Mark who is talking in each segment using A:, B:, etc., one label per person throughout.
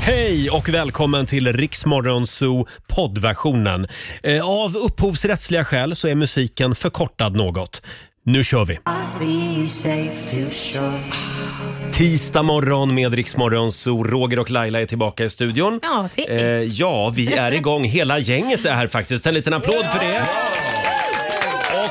A: Hej och välkommen till Riksmorgon Zoo poddversionen. Eh, Av upphovsrättsliga skäl så är musiken förkortad något. Nu kör vi! Tisdag morgon med Riksmorgon Zoo. Roger och Laila är tillbaka i studion.
B: Ja, det är-
A: Eh, ja, vi är igång. Hela gänget är här faktiskt. En liten applåd för det. Och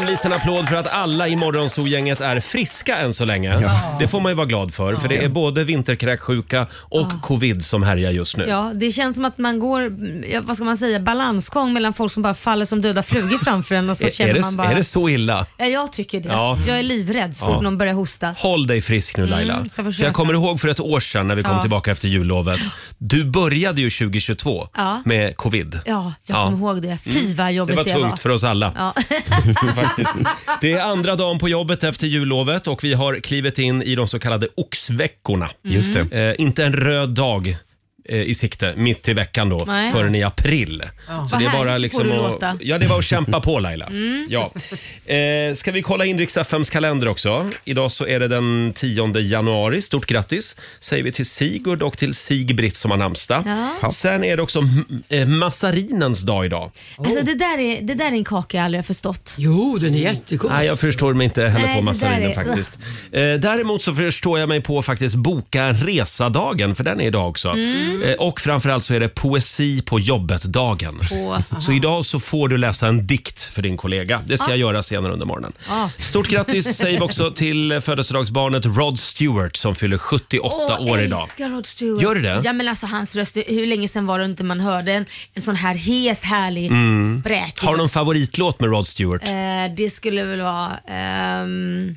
A: En liten applåd för att alla i Morgonzoo-gänget är friska än så länge. Det får man ju vara glad för, för det är både vinterkräksjuka och covid som härjar just nu.
B: Ja, det känns som att man går, mm, ja, vad ska man säga, balansgång mellan folk som bara faller som döda flugor framför en och så
A: är,
B: känner
A: är, det,
B: man bara...
A: är det så illa?
B: Ja, jag tycker det.
A: Ja.
B: Jag är livrädd så fort
A: Ja.
B: någon börjar hosta.
A: Håll dig frisk nu Laila.
B: Mm, ska
A: För
B: försöka.
A: jag kommer ihåg för ett år sedan när vi kom
B: Ja.
A: tillbaka efter jullovet. Du började ju 2022
B: Ja.
A: med covid.
B: Ja, jag
A: Ja. Mm.
B: kommer ihåg det. Fy vad
A: Det
B: jobbigt
A: var
B: det,
A: tungt
B: var.
A: för oss alla.
B: Ja.
A: Faktiskt. Det är andra dagen på jobbet efter jullovet och vi har klivit in i de så kallade oxveckorna.
B: Mm.
C: Just det.
A: Eh, inte en röd dag eh, i sikte mitt i veckan då
B: Nej.
A: förrän i april. Så
B: Vad
A: det är bara
B: härligt
A: liksom
B: får du
A: att,
B: låta. Mm.
A: ja, det var att kämpa på Laila. Ja. Eh, ska vi kolla in Rix FMs kalender också? Idag så är det den 10 januari. Stort grattis säger vi till Sigurd och till Sigbritt som har namnsdag.
B: Ja.
A: Sen är det också mm, eh, massarinens dag idag.
B: Alltså, det, där är, det där är en kaka jag aldrig har förstått.
D: Jo, den är jättegod.
A: Nej, jag förstår mig inte heller
B: Nej,
A: på
B: det
A: massarinen
B: där är-
A: faktiskt. Eh, däremot så förstår jag mig på faktiskt boka en resadagen, för den är idag också.
B: Mm.
A: Eh, och framförallt så är det poesi på jobbet-dagen.
B: Åh.
A: Så idag så får du läsa en dikt för din kollega. Det ska jag göra senare under morgonen.
B: Ja.
A: Stort grattis säger vi också till födelsedagsbarnet Rod Stewart som fyller 78
B: Åh,
A: år
B: jag
A: idag.
B: älskar Rod Stewart.
A: Gör du det?
B: Ja men alltså hans röst, det- hur länge sedan var det inte man hörde en, en sån här hes, härlig, bräkig
A: Mm. Har du någon favoritlåt med Rod Stewart?
B: Eh, det skulle väl vara ehm,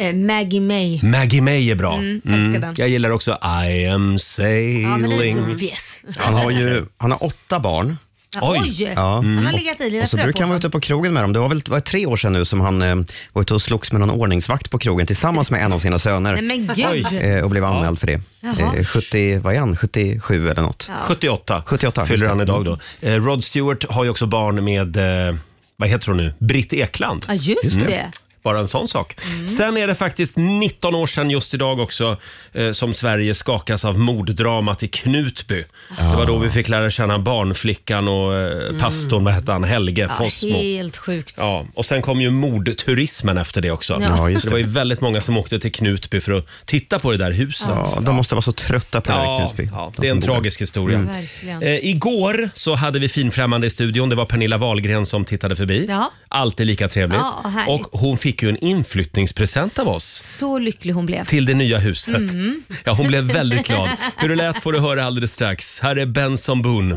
B: eh, Maggie May.
A: Maggie May är bra.
B: Mm,
A: Mm.
B: älskar den.
A: Jag gillar också I am
B: Ja, men den är
A: sailing.
B: lite obvious.
C: Han har ju han har åtta barn.
B: Ja,
A: Oj. Mm.
B: Oj!
C: Ja.
B: Han har legat i lilla
C: Och så brukar han vara
B: fröpåsen.
C: ute på krogen med dem. Det var väl det var tre år sedan nu som han eh, var ute och slogs med någon ordningsvakt på krogen tillsammans med en av sina
B: Nej
C: söner
B: men gud!
C: eh, och blev anmäld för det.
B: Jaha.
C: Eh, 70, vad är han? 77 eller något.
B: Ja.
A: 78,
C: 78,
A: fyller
C: just
A: han
C: det. Mm.
A: idag då. Eh, Rod Stewart har ju också barn med, eh, vad heter hon nu, Britt Ekland.
B: Ja just, det.
A: Bara en sån sak.
B: Mm.
A: Sen är det faktiskt 19 år sedan just idag också eh, som Sverige skakas av morddramat i Knutby.
C: Ah.
A: Det var då vi fick lära känna barnflickan och eh, pastorn, vad hette han, Helge
B: Mm. Ja,
A: Fossmo.
B: helt sjukt.
A: Ja, och sen kom ju mordturismen efter det också.
B: Ja.
C: Ja, just
A: Så det var ju väldigt många som åkte till Knutby för att titta på det där huset.
C: Ja, de måste vara så trötta på det här i
A: Ja,
C: Knutby,
A: ja,
C: de
A: det är
C: som
A: en
C: bor där.
A: tragisk historia.
B: Verkligen.
A: Eh, igår så hade vi finfrämmande i studion. Det var Pernilla Wahlgren som tittade förbi.
B: Ja.
A: Alltid lika trevligt.
B: Ja, och härligt.
A: och hon fick ju en inflyttningspresent av oss
B: Så lycklig hon blev.
A: till det nya huset.
B: Mm.
A: Ja, hon blev väldigt glad. Hur det lät får du höra alldeles strax. Här är Benson Boone.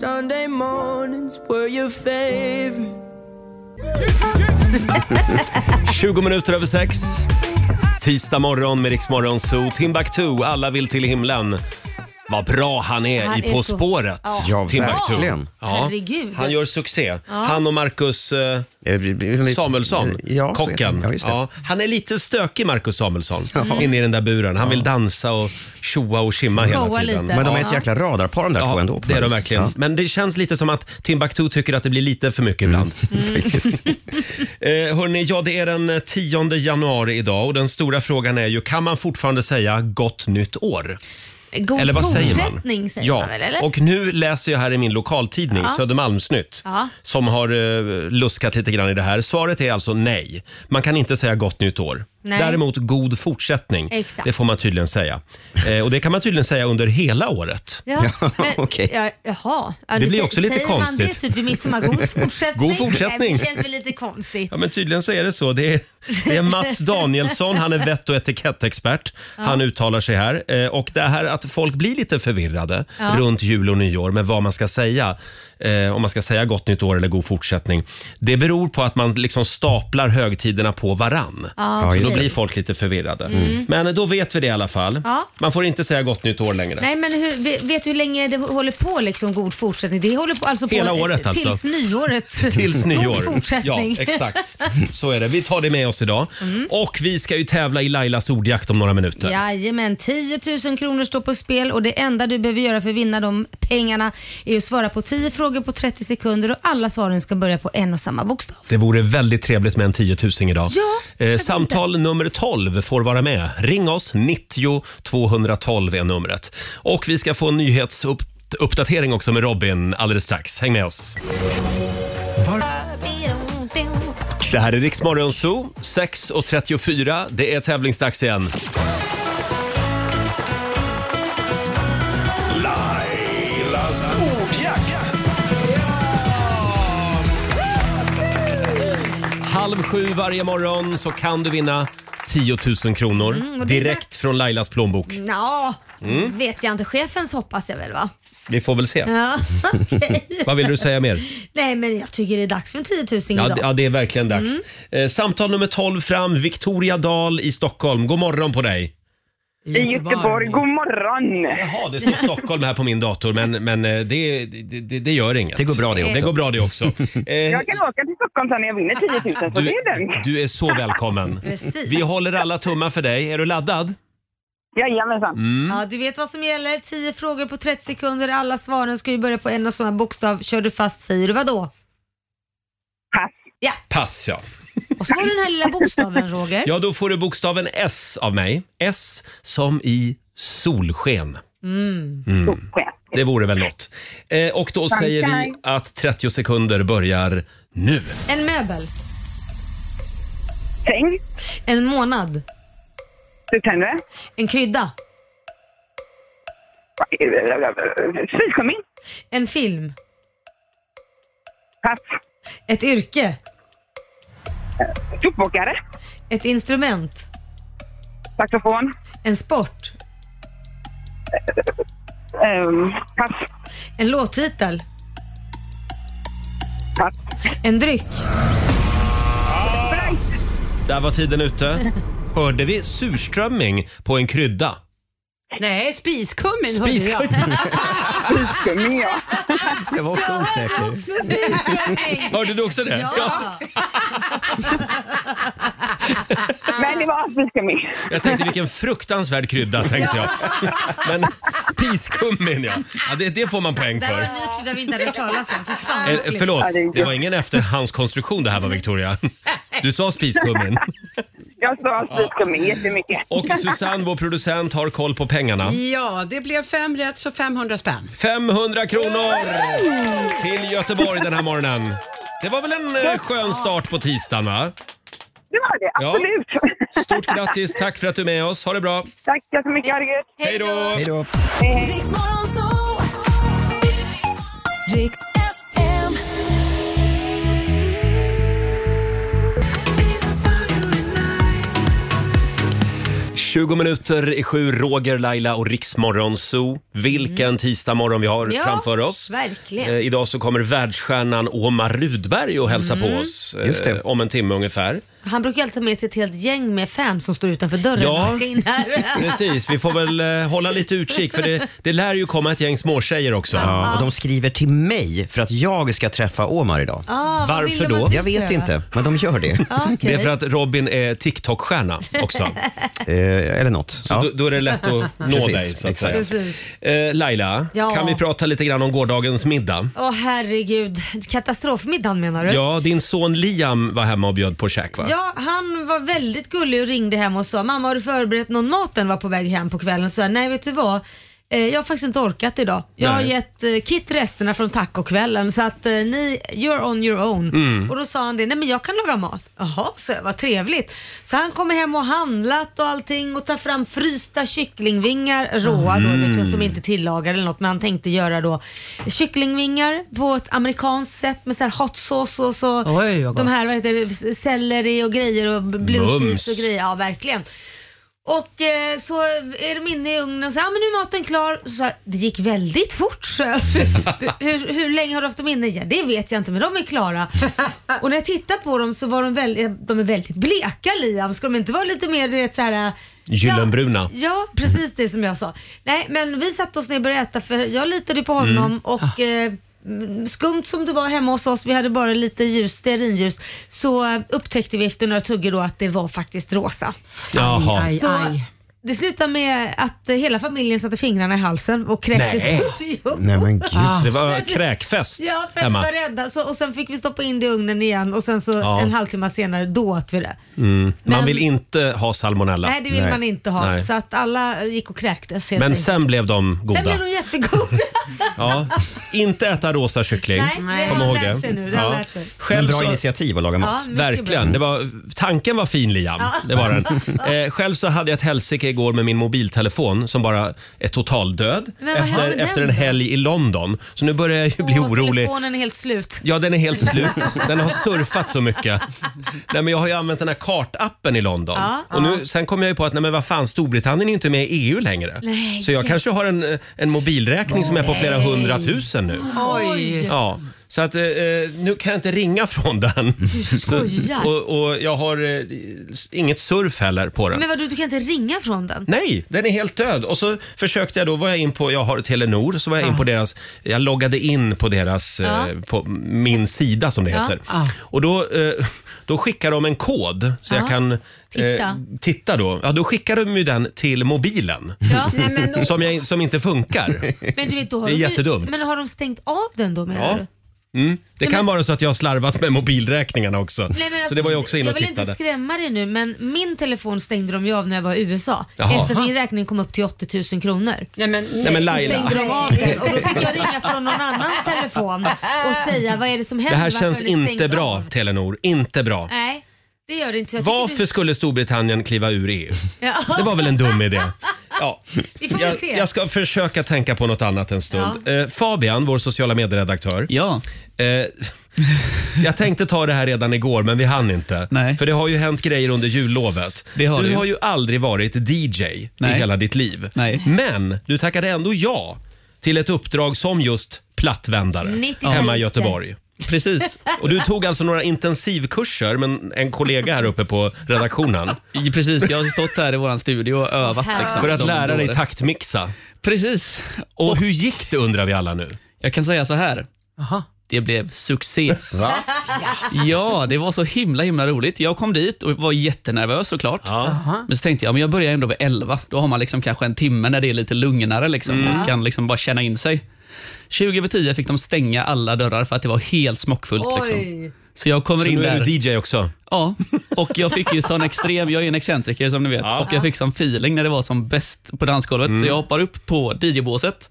E: Sunday mornings were your favorite.
A: 20 minuter över sex. Tisdag morgon med Riksmorgon Zoo. Timbuktu, alla vill till himlen. Vad bra han är
B: Han
A: i
B: är
A: På
B: så-
A: spåret,
C: Ja,
A: Timbuktu.
C: verkligen.
B: Herregud.
A: Han gör succé. Han och Marcus... Eh,
C: Eh, vi- vi- eh,
A: Samuelsson,
C: ja, så heter
A: kocken.
C: han. Ja, just det.
A: Ja, han är lite stökig, Marcus Samuelsson, inne i den där buren. Han vill dansa och tjoa och tjimma hela
B: Showa
A: tiden.
B: lite.
C: Men de är
B: Ja.
C: ett jäkla radarpar de där två
A: Ja,
C: ändå. på
A: det är de
C: något vis.
A: verkligen.
C: Ja.
A: Men det känns lite som att Timbuktu tycker att det blir lite för mycket ibland.
C: Mm. Faktiskt.
A: Eh, hörni, ja, det är den 10 januari idag och den stora frågan är ju, kan man fortfarande säga gott nytt år?
B: God
A: Eller vad säger man?
B: fortsättning säger
A: ja.
B: man väl? Eller?
A: Och nu läser jag här i min lokaltidning Södermalmsnytt
B: Ja.
A: som har eh, luskat lite grann i det här. Svaret är alltså nej. Man kan inte säga gott nytt år.
B: Nej.
A: Däremot god fortsättning,
B: Exakt.
A: det får man tydligen säga. Eh, och det kan man tydligen säga under hela året.
B: Ja, men,
C: okej.
B: ja, jaha. Ja,
A: Det blir
B: sä-
A: också lite
B: säger Man det
A: konstigt.
B: typ vid midsommar, god fortsättning.
A: God fortsättning.
B: Det känns väl lite konstigt.
A: Ja, men tydligen så är det så. Det är, det är Mats Danielsson, han är vett och etikettexpert. Han uttalar sig här. Eh, Och det här att folk blir lite förvirrade runt jul och nyår med vad man ska säga. Eh, om man ska säga gott nytt år eller god fortsättning. Det beror på att man liksom staplar högtiderna på varann.
C: Ja,
A: Så
C: just
A: då
C: det.
A: blir folk lite förvirrade. Men då vet vi det i alla fall.
B: Ja.
A: Man får inte säga gott nytt år längre.
B: Nej men hur, vet- vet du hur länge det håller på liksom god fortsättning? Det håller på alltså på
A: Hela året, alltså.
B: Tills nyåret.
A: Tills nyår.
B: God fortsättning.
A: Ja, exakt. Så är det. Vi tar det med oss oss idag. Och vi ska ju tävla i Lailas ordjakt om några minuter.
B: Jajamän, 10 000 kronor står på spel och det enda du behöver göra för att vinna de pengarna är att svara på 10 frågor på 30 sekunder och alla svaren ska börja på en och samma bokstav.
A: Det vore väldigt trevligt med en 10 000 idag.
B: Ja,
A: eh, samtal nummer 12 får vara med. Ring oss, 90 212 är numret. Och vi ska få en nyhetsuppdatering också med Robin alldeles strax. Häng med oss. Det här är Riksmorgon Zoo, 6.34. Det är tävlingsdags igen.
D: Lailas ordjakt.
A: Halv sju varje morgon så kan du vinna 10 000 kronor
B: Mm, och det är
A: direkt
B: dags.
A: från Lailas plånbok.
B: Ja,
A: Mm.
B: vet jag inte. Chefens hoppas jag väl va?
A: Vi får väl se.
B: Ja, okej.
A: Vad vill du säga mer?
B: Nej men jag tycker det är dags för en 10 000
A: Ja,
B: idag.
A: det- ja, det är verkligen dags.
B: Mm.
A: Eh, samtal nummer 12 fram, Victoria Dahl i Stockholm. God morgon på dig!
F: I Göteborg. God morgon!
A: Jaha, det står Stockholm här på min dator, men, men eh, det, det, det- det gör inget.
C: Det går bra det också.
A: Det går bra det också. Eh,
F: Jag kan åka till Stockholm sen när jag vinner 10 000, så
A: du,
F: det är lugnt.
A: du är så välkommen.
B: Precis.
A: Vi håller alla tummar för dig. Är du laddad?
F: Jajamensan.
A: Mm.
B: Ja, du vet vad som gäller. 10 frågor på 30 sekunder. Alla svaren ska ju börja på en och samma bokstav. Kör du fast säger du vad då?
F: Pass.
B: Ja,
A: Pass ja.
B: och så har du den här lilla bokstaven Roger.
A: Ja, då får du bokstaven S av mig. S som i solsken.
B: Mm.
A: Mm.
F: Skönt.
A: Det vore väl något. Eh, och då säger vi att 30 sekunder börjar nu.
B: En möbel.
F: Säng.
B: En månad.
F: Sluttändare.
B: En krydda.
F: Syskönmin.
B: En film.
F: Pass.
B: Ett yrke.
F: Toppåkare.
B: Ett instrument.
F: Saxofon.
B: En sport.
F: Ehm, pass.
B: En låttitel.
F: Pass.
B: En dryck.
A: Där var tiden ute. Hörde vi surströmming på en krydda?
G: Nej, spiskummin hörde jag.
A: Spiskummin.
F: Syskönmin, ja.
C: Jag var också osäker.
A: Hörde du också det?
B: Ja.
F: Men det var syskönmin.
A: Jag tänkte vilken fruktansvärd krydda tänkte jag. Men spiskummin ja. ja det, det får man poäng
B: Det här var en
A: för.
B: ny krydda vi inte hade hört talas om. För fan,
A: Eh,
B: äckligt.
A: förlåt, det var ingen efterhandskonstruktion det här var Victoria. Du sa spiskummin.
F: Jag sa syskönmin jättemycket.
A: Och Susanne, vår producent, har koll på pengarna.
G: Ja, det blev fem rätt så 500 spänn.
A: 500 kronor till Göteborg den här morgonen. Det var väl en eh, skön start på tisdagen va?
F: Det var det,
A: Ja.
F: absolut.
A: Stort grattis, tack för att du är med oss. Ha det bra.
F: Tack så mycket, ha det gött.
A: Hej då!
C: Hej då.
A: Tjugo minuter i sju, Roger, Laila och Riksmorgon Zoo. Vilken tisdagmorgon vi har
B: Mm. Ja,
A: framför oss.
B: verkligen.
A: Eh, idag så kommer världsstjärnan Omar Rudberg och hälsa
B: Mm.
A: på oss eh,
C: Just det.
A: om en timme ungefär.
B: Han brukar alltid ta med sig ett helt gäng med fans som står utanför dörren
A: Ja.
B: när han ska in här.
A: Precis, vi får väl eh, hålla lite utkik för det, det lär ju komma ett gäng småtjejer också.
C: Ja, och de skriver till mig för att jag ska träffa Omar idag.
B: Ah, vad
A: Varför
B: vill de
A: då?
B: att du
C: Jag
B: ska
C: vet
B: göra?
C: inte, men de gör det.
B: Ah,
A: Det
B: okej.
A: är för att Robin är TikTok-stjärna också.
C: Eh, eller något. Ja.
A: Då, då är det lätt att nå
C: Precis,
A: dig så att
C: exakt.
A: säga.
B: Precis.
A: Eh, Laila,
B: Ja.
A: kan vi prata lite grann om gårdagens middag?
B: Åh herregud, katastrofmiddagen menar du?
A: Ja, din son Liam var hemma och bjöd på käk va?
B: Ja, han var väldigt gullig och ringde hem och sa “Mamma har du förberett någon mat?” Den var på väg hem på kvällen. Så jag “Nej vet du vad, eh, jag har faktiskt inte orkat idag. Jag har
A: Nej.
B: gett eh, Kit resterna från tacokvällen så att eh, ni, you're on your own”.
G: Mm.
B: Och då sa han det “Nej men jag kan laga mat”. Jaha, så jag, vad trevligt. Så han kommer hem och handlat och allting och tar fram frysta kycklingvingar, råa
G: Mm.
B: då liksom, som inte tillagade eller något. Men han tänkte göra då kycklingvingar på ett amerikanskt sätt med så här hot sauce och så
G: Oj, vad
B: de
G: gott.
B: här vad heter det, selleri och grejer och blue
A: Mums.
B: cheese och grejer. Ja, verkligen. Och eh, så är de inne i ugnen och säger ja men nu är maten klar. Så sa jag, det gick väldigt fort. Så jag. hur, hur länge har du haft dem inne? Ja, det vet jag inte men de är klara. och när jag tittar på dem så var de, väl, eh, de är väldigt bleka Liam. Ska de inte vara lite mer du vet, så här, eh,
A: Gyllenbruna.
B: Ja, precis det som jag sa. Nej, men vi satte oss ner och började äta för jag litade ju på honom och eh, mm, skumt som det var hemma hos oss, vi hade bara lite ljus, stearinljus, så eh, upptäckte vi efter några tuggor då att det var faktiskt rosa.
A: Jaha.
G: Aj,
B: Så
G: aj.
B: det slutade med att eh, hela familjen satte fingrarna i halsen och kräktes
A: Nej.
B: upp. Jo.
C: Nej men gud.
A: Så det var kräkfest
B: Ja, för att vi
A: hemma.
B: var rädda. Så, och sen fick vi stoppa in det i ugnen igen och sen så
A: Ja. Mm.
B: en halvtimme senare, då åt vi det.
A: Man
B: Men-
A: vill inte ha salmonella.
B: Nej, det vill
C: Nej.
B: man inte ha.
A: Nej.
B: Så att alla gick och kräktes helt
A: Men
B: enkelt.
A: sen blev de goda.
B: Sen blev de jättegoda.
A: Ja. Inte äta rosa kyckling.
B: Nej, det
A: Mm. Kom
B: har
A: ihåg
B: man lärt
A: det.
B: sig nu. Det har man lärt sig.
A: Själv
C: Men bra
A: så-
C: initiativ att laga mat.
B: mycket
A: Verkligen. Det var, tanken var fin Liam. Det var den. Eh, själv så hade jag ett helsike igår med min mobiltelefon som bara är totaldöd
B: Men vad hände
A: efter,
B: med
A: efter en
B: den då?
A: helg i London. Så nu börjar jag ju bli
B: Åh,
A: orolig.
B: Telefonen är helt slut.
A: Ja, den är helt slut. Den har surfat så mycket. Nej, men jag har ju använt den här kartappen i London.
B: Ja.
A: och nu, Sen kom jag ju på att nej, men vad fan, Storbritannien är ju inte med i EU längre.
B: Nej.
A: Så jag kanske har en, eh, en mobilräkning som är på flera hundratusen nu.
G: Oj.
A: Ja. Så att eh, eh, nu kan jag inte ringa från den. Så,
B: skojar.
A: och, och jag har eh, s- inget surf heller på den.
B: Men vadå, du kan inte ringa från den?
A: Nej, den är helt död. Och så försökte jag då, var jag in på, jag har Telenor, så var jag in på deras, jag loggade in på deras,
B: Ja.
A: eh, på min sida som det heter.
G: Ja.
A: Och då, eh, då skickar de en kod så jag
B: Ja.
A: kan Eh,
B: Titta.
A: titta då. Ja, då skickar de ju den till mobilen
B: Ja.
G: Nej, men, och,
A: som, jag, som inte funkar.
B: Men du vet, då har
A: Det är
B: de, ju-
A: jättedumt.
B: Men har de stängt av den då menar
A: Ja.
B: du?
A: Mm. Det
B: Nej,
A: kan
B: men-
A: vara så att jag har slarvat med mobilräkningarna också.
B: Nej, men
A: så
B: alltså,
A: det var jag också inne och
B: Jag vill inte
A: tittade.
B: skrämma dig nu men min telefon stängde de ju av när jag var i USA.
A: Jaha.
B: Efter att min räkning kom upp till 80 000 kronor.
G: nej, men, nej,
A: Nej men
B: Så
A: Laila,
B: stängde de av den och då fick jag ringa från någon annans telefon och säga vad är det som
A: det
B: händer?
A: här
B: Varför har
A: känns
B: ni stängt
A: inte bra
B: av?"
A: Telenor. Inte bra.
B: Nej, det gör det inte. Så jag tycker
A: Varför skulle Storbritannien kliva ur EU?
B: Du, ja,
A: Det var väl en dum idé. Ja.
B: vi får väl
A: Jag,
B: se.
A: jag ska försöka tänka på något annat en stund. Eh, Fabian, vår sociala medieredaktör.
H: Ja,
A: Eh, jag tänkte ta det här redan igår, men vi hann inte.
H: Nej.
A: För det har ju hänt grejer under jullovet.
H: Det har
A: du
H: det ju.
A: har ju aldrig varit DJ i
H: Nej.
A: hela ditt liv.
H: Nej.
A: Men du tackade ändå ja till ett uppdrag som just plattvändare
B: 90
A: hemma i
B: journalister.
A: Göteborg.
H: precis.
A: Och du tog alltså några intensivkurser med en kollega här uppe på redaktionen
H: I- precis. Jag har stått här i vår studio och övat. Liksom,
A: för att
H: som
A: lära dig
H: dåre.
A: taktmixa.
H: Precis.
A: Och hur gick det undrar vi alla nu?
H: Jag kan säga så här.
G: Jaha.
H: Det blev succé. Ja, det var så himla himla roligt. Jag kom dit och var jättenervös såklart. Men så tänkte jag, men jag börjar ändå vid 11. Då har man liksom kanske en timme när det är lite lugnare liksom.
A: Mm.
H: Man kan liksom bara känna in sig. 20 över 10 fick de stänga alla dörrar för att det var helt smockfullt. Liksom.
B: Oj.
H: Så jag kommer
A: Så
H: in
A: nu
H: där.
A: är du DJ också?
H: Ja, och jag fick ju sån extrem, jag är en excentriker som ni vet, och jag fick sån feeling när det var som bäst på dansgolvet,
A: Mm.
H: så jag hoppar upp på DJ-båset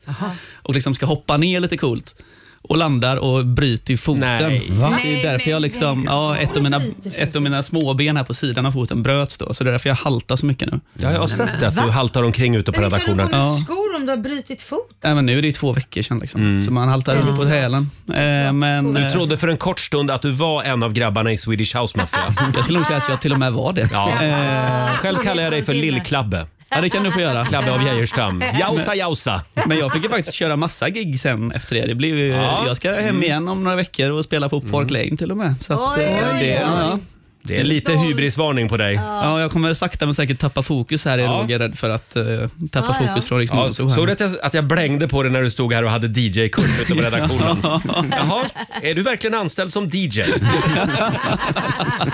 H: och liksom ska hoppa ner lite coolt och landar och bryter ju foten.
A: Nej.
H: Det är ju därför jag liksom, ja, ett av mina, ett av mina småben här på sidan av foten bröts då, så det är därför jag haltar så mycket nu.
A: Ja, jag har sett att du haltar omkring ute på
B: Men hur kan du
A: redaktionen.
B: gå med
H: Ja.
B: skor om du har brutit fot?
H: Nej, men nu är det ju två veckor sedan liksom,
A: Mm.
H: så man haltar ur på hälen. Eh, men,
A: Du
H: eh,
A: trodde för en kort stund att du var en av grabbarna i Swedish House Mafia.
H: jag skulle nog säga att jag till och med var det.
A: Ja.
H: Eh,
A: Själv kallar jag dig för Lill-Klabbe.
H: ja, det kan du få göra.
A: Klabbe av Geijerstam. Jausa, jausa.
H: Men jag fick ju faktiskt köra massa gig sen efter det. det blev ju,
A: Ja.
H: Jag ska hem igen om några veckor och spela på Park Lane till och med. Så att,
B: Oj,
H: eh,
B: oj,
H: det,
B: oj.
H: Ja,
A: Det är lite hybrisvarning på dig.
H: ja, jag kommer sakta men säkert tappa fokus här, är Roger rädd för att eh, tappa
B: Ja,
H: fokus
B: ja.
H: från Rix
A: Ja,
H: Morgonzoo här.
A: såg du att jag, att jag blängde på dig när du stod här och hade DJ-kurs ute på redaktionen? Jaha, är du verkligen anställd som DJ?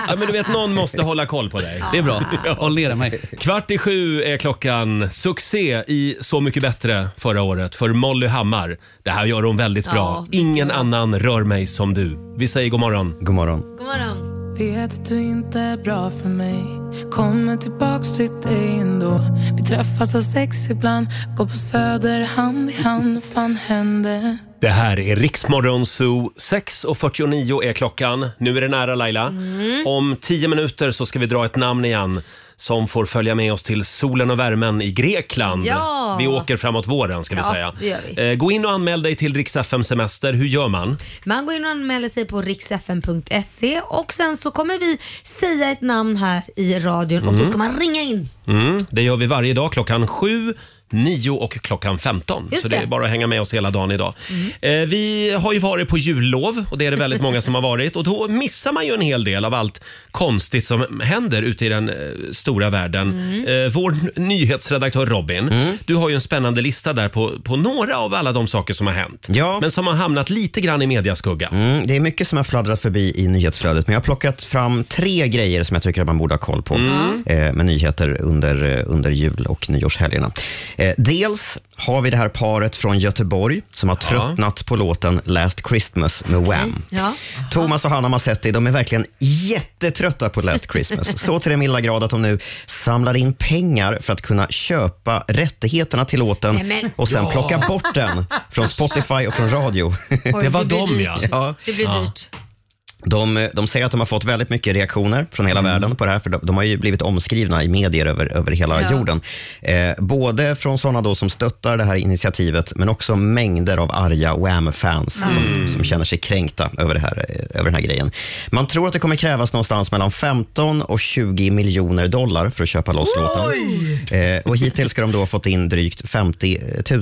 A: ja, men du vet, någon måste hålla koll på dig.
H: Det är bra. Håll nere mig.
A: Kvart i sju är klockan. Succé i Så mycket bättre förra året för Molly Hammar. Det här gör hon väldigt bra.
B: Ja,
A: Ingen annan rör mig som du. Vi säger god morgon.
C: God morgon.
B: God morgon.
I: Vet att du inte är bra för mig Kommer tillbaks till dig ändå Vi träffas av sex ibland Går på söder hand i hand Fan hände
A: Det här är Riksmorgon Zoo. 6.49 är klockan. Nu är det nära Laila.
B: Mm.
A: Om tio minuter så ska vi dra ett namn igen som får följa med oss till solen och värmen i Grekland.
B: Ja.
A: Vi åker framåt våren ska vi
B: Ja,
A: säga.
B: det gör vi.
A: Eh, Gå in och anmäl dig till Rix FM Semester. Hur gör man?
B: Man går in och anmäler sig på riksfn.se och sen så kommer vi säga ett namn här i radion och då ska man ringa in.
A: Mm, det gör vi varje dag klockan 7, 9 och klockan 15.
B: Just
A: så det är
B: det.
A: bara att hänga med oss hela dagen idag. Eh, vi har ju varit på jullov och det är det väldigt många som har varit. Och då missar man ju en hel del av allt konstigt som händer ute i den eh, stora världen. Eh, vår n- nyhetsredaktör Robin, du har ju en spännande lista där på, på några av alla de saker som har hänt.
C: Ja.
A: Men som har hamnat lite grann i mediaskugga.
C: Mm, det är mycket som har fladdrat förbi i nyhetsflödet, men jag har plockat fram tre grejer som jag tycker att man borde ha koll på eh, med nyheter under, eh, under jul och nyårshelgerna. Eh, dels har vi det här paret från Göteborg som har tröttnat på låten Last Christmas med Wham.
B: Ja.
C: Thomas och Hanna Massetti, de är verkligen jättetrötta på Last Christmas. Så till den milda grad att de nu samlar in pengar för att kunna köpa rättigheterna till låten
B: Nämen.
C: och sen plocka bort den från Spotify och från radio.
B: Oj,
A: Det var
B: blir
A: dem,
B: dyrt.
A: ja.
C: Ja.
B: Det blir dyrt.
C: De, de säger att de har fått väldigt mycket reaktioner från
B: Mm.
C: hela världen på det här, för de, de har ju blivit omskrivna i medier över, över hela
B: Ja.
C: jorden. Eh, både från sådana då som stöttar det här initiativet, men också mängder av arga Wham-fans
B: Mm.
C: som, som känner sig kränkta över, det här, eh, över den här grejen. Man tror att det kommer krävas någonstans mellan 15 och 20 miljoner dollar för att köpa loss låten. Eh, och hittills ska de då ha fått in drygt 50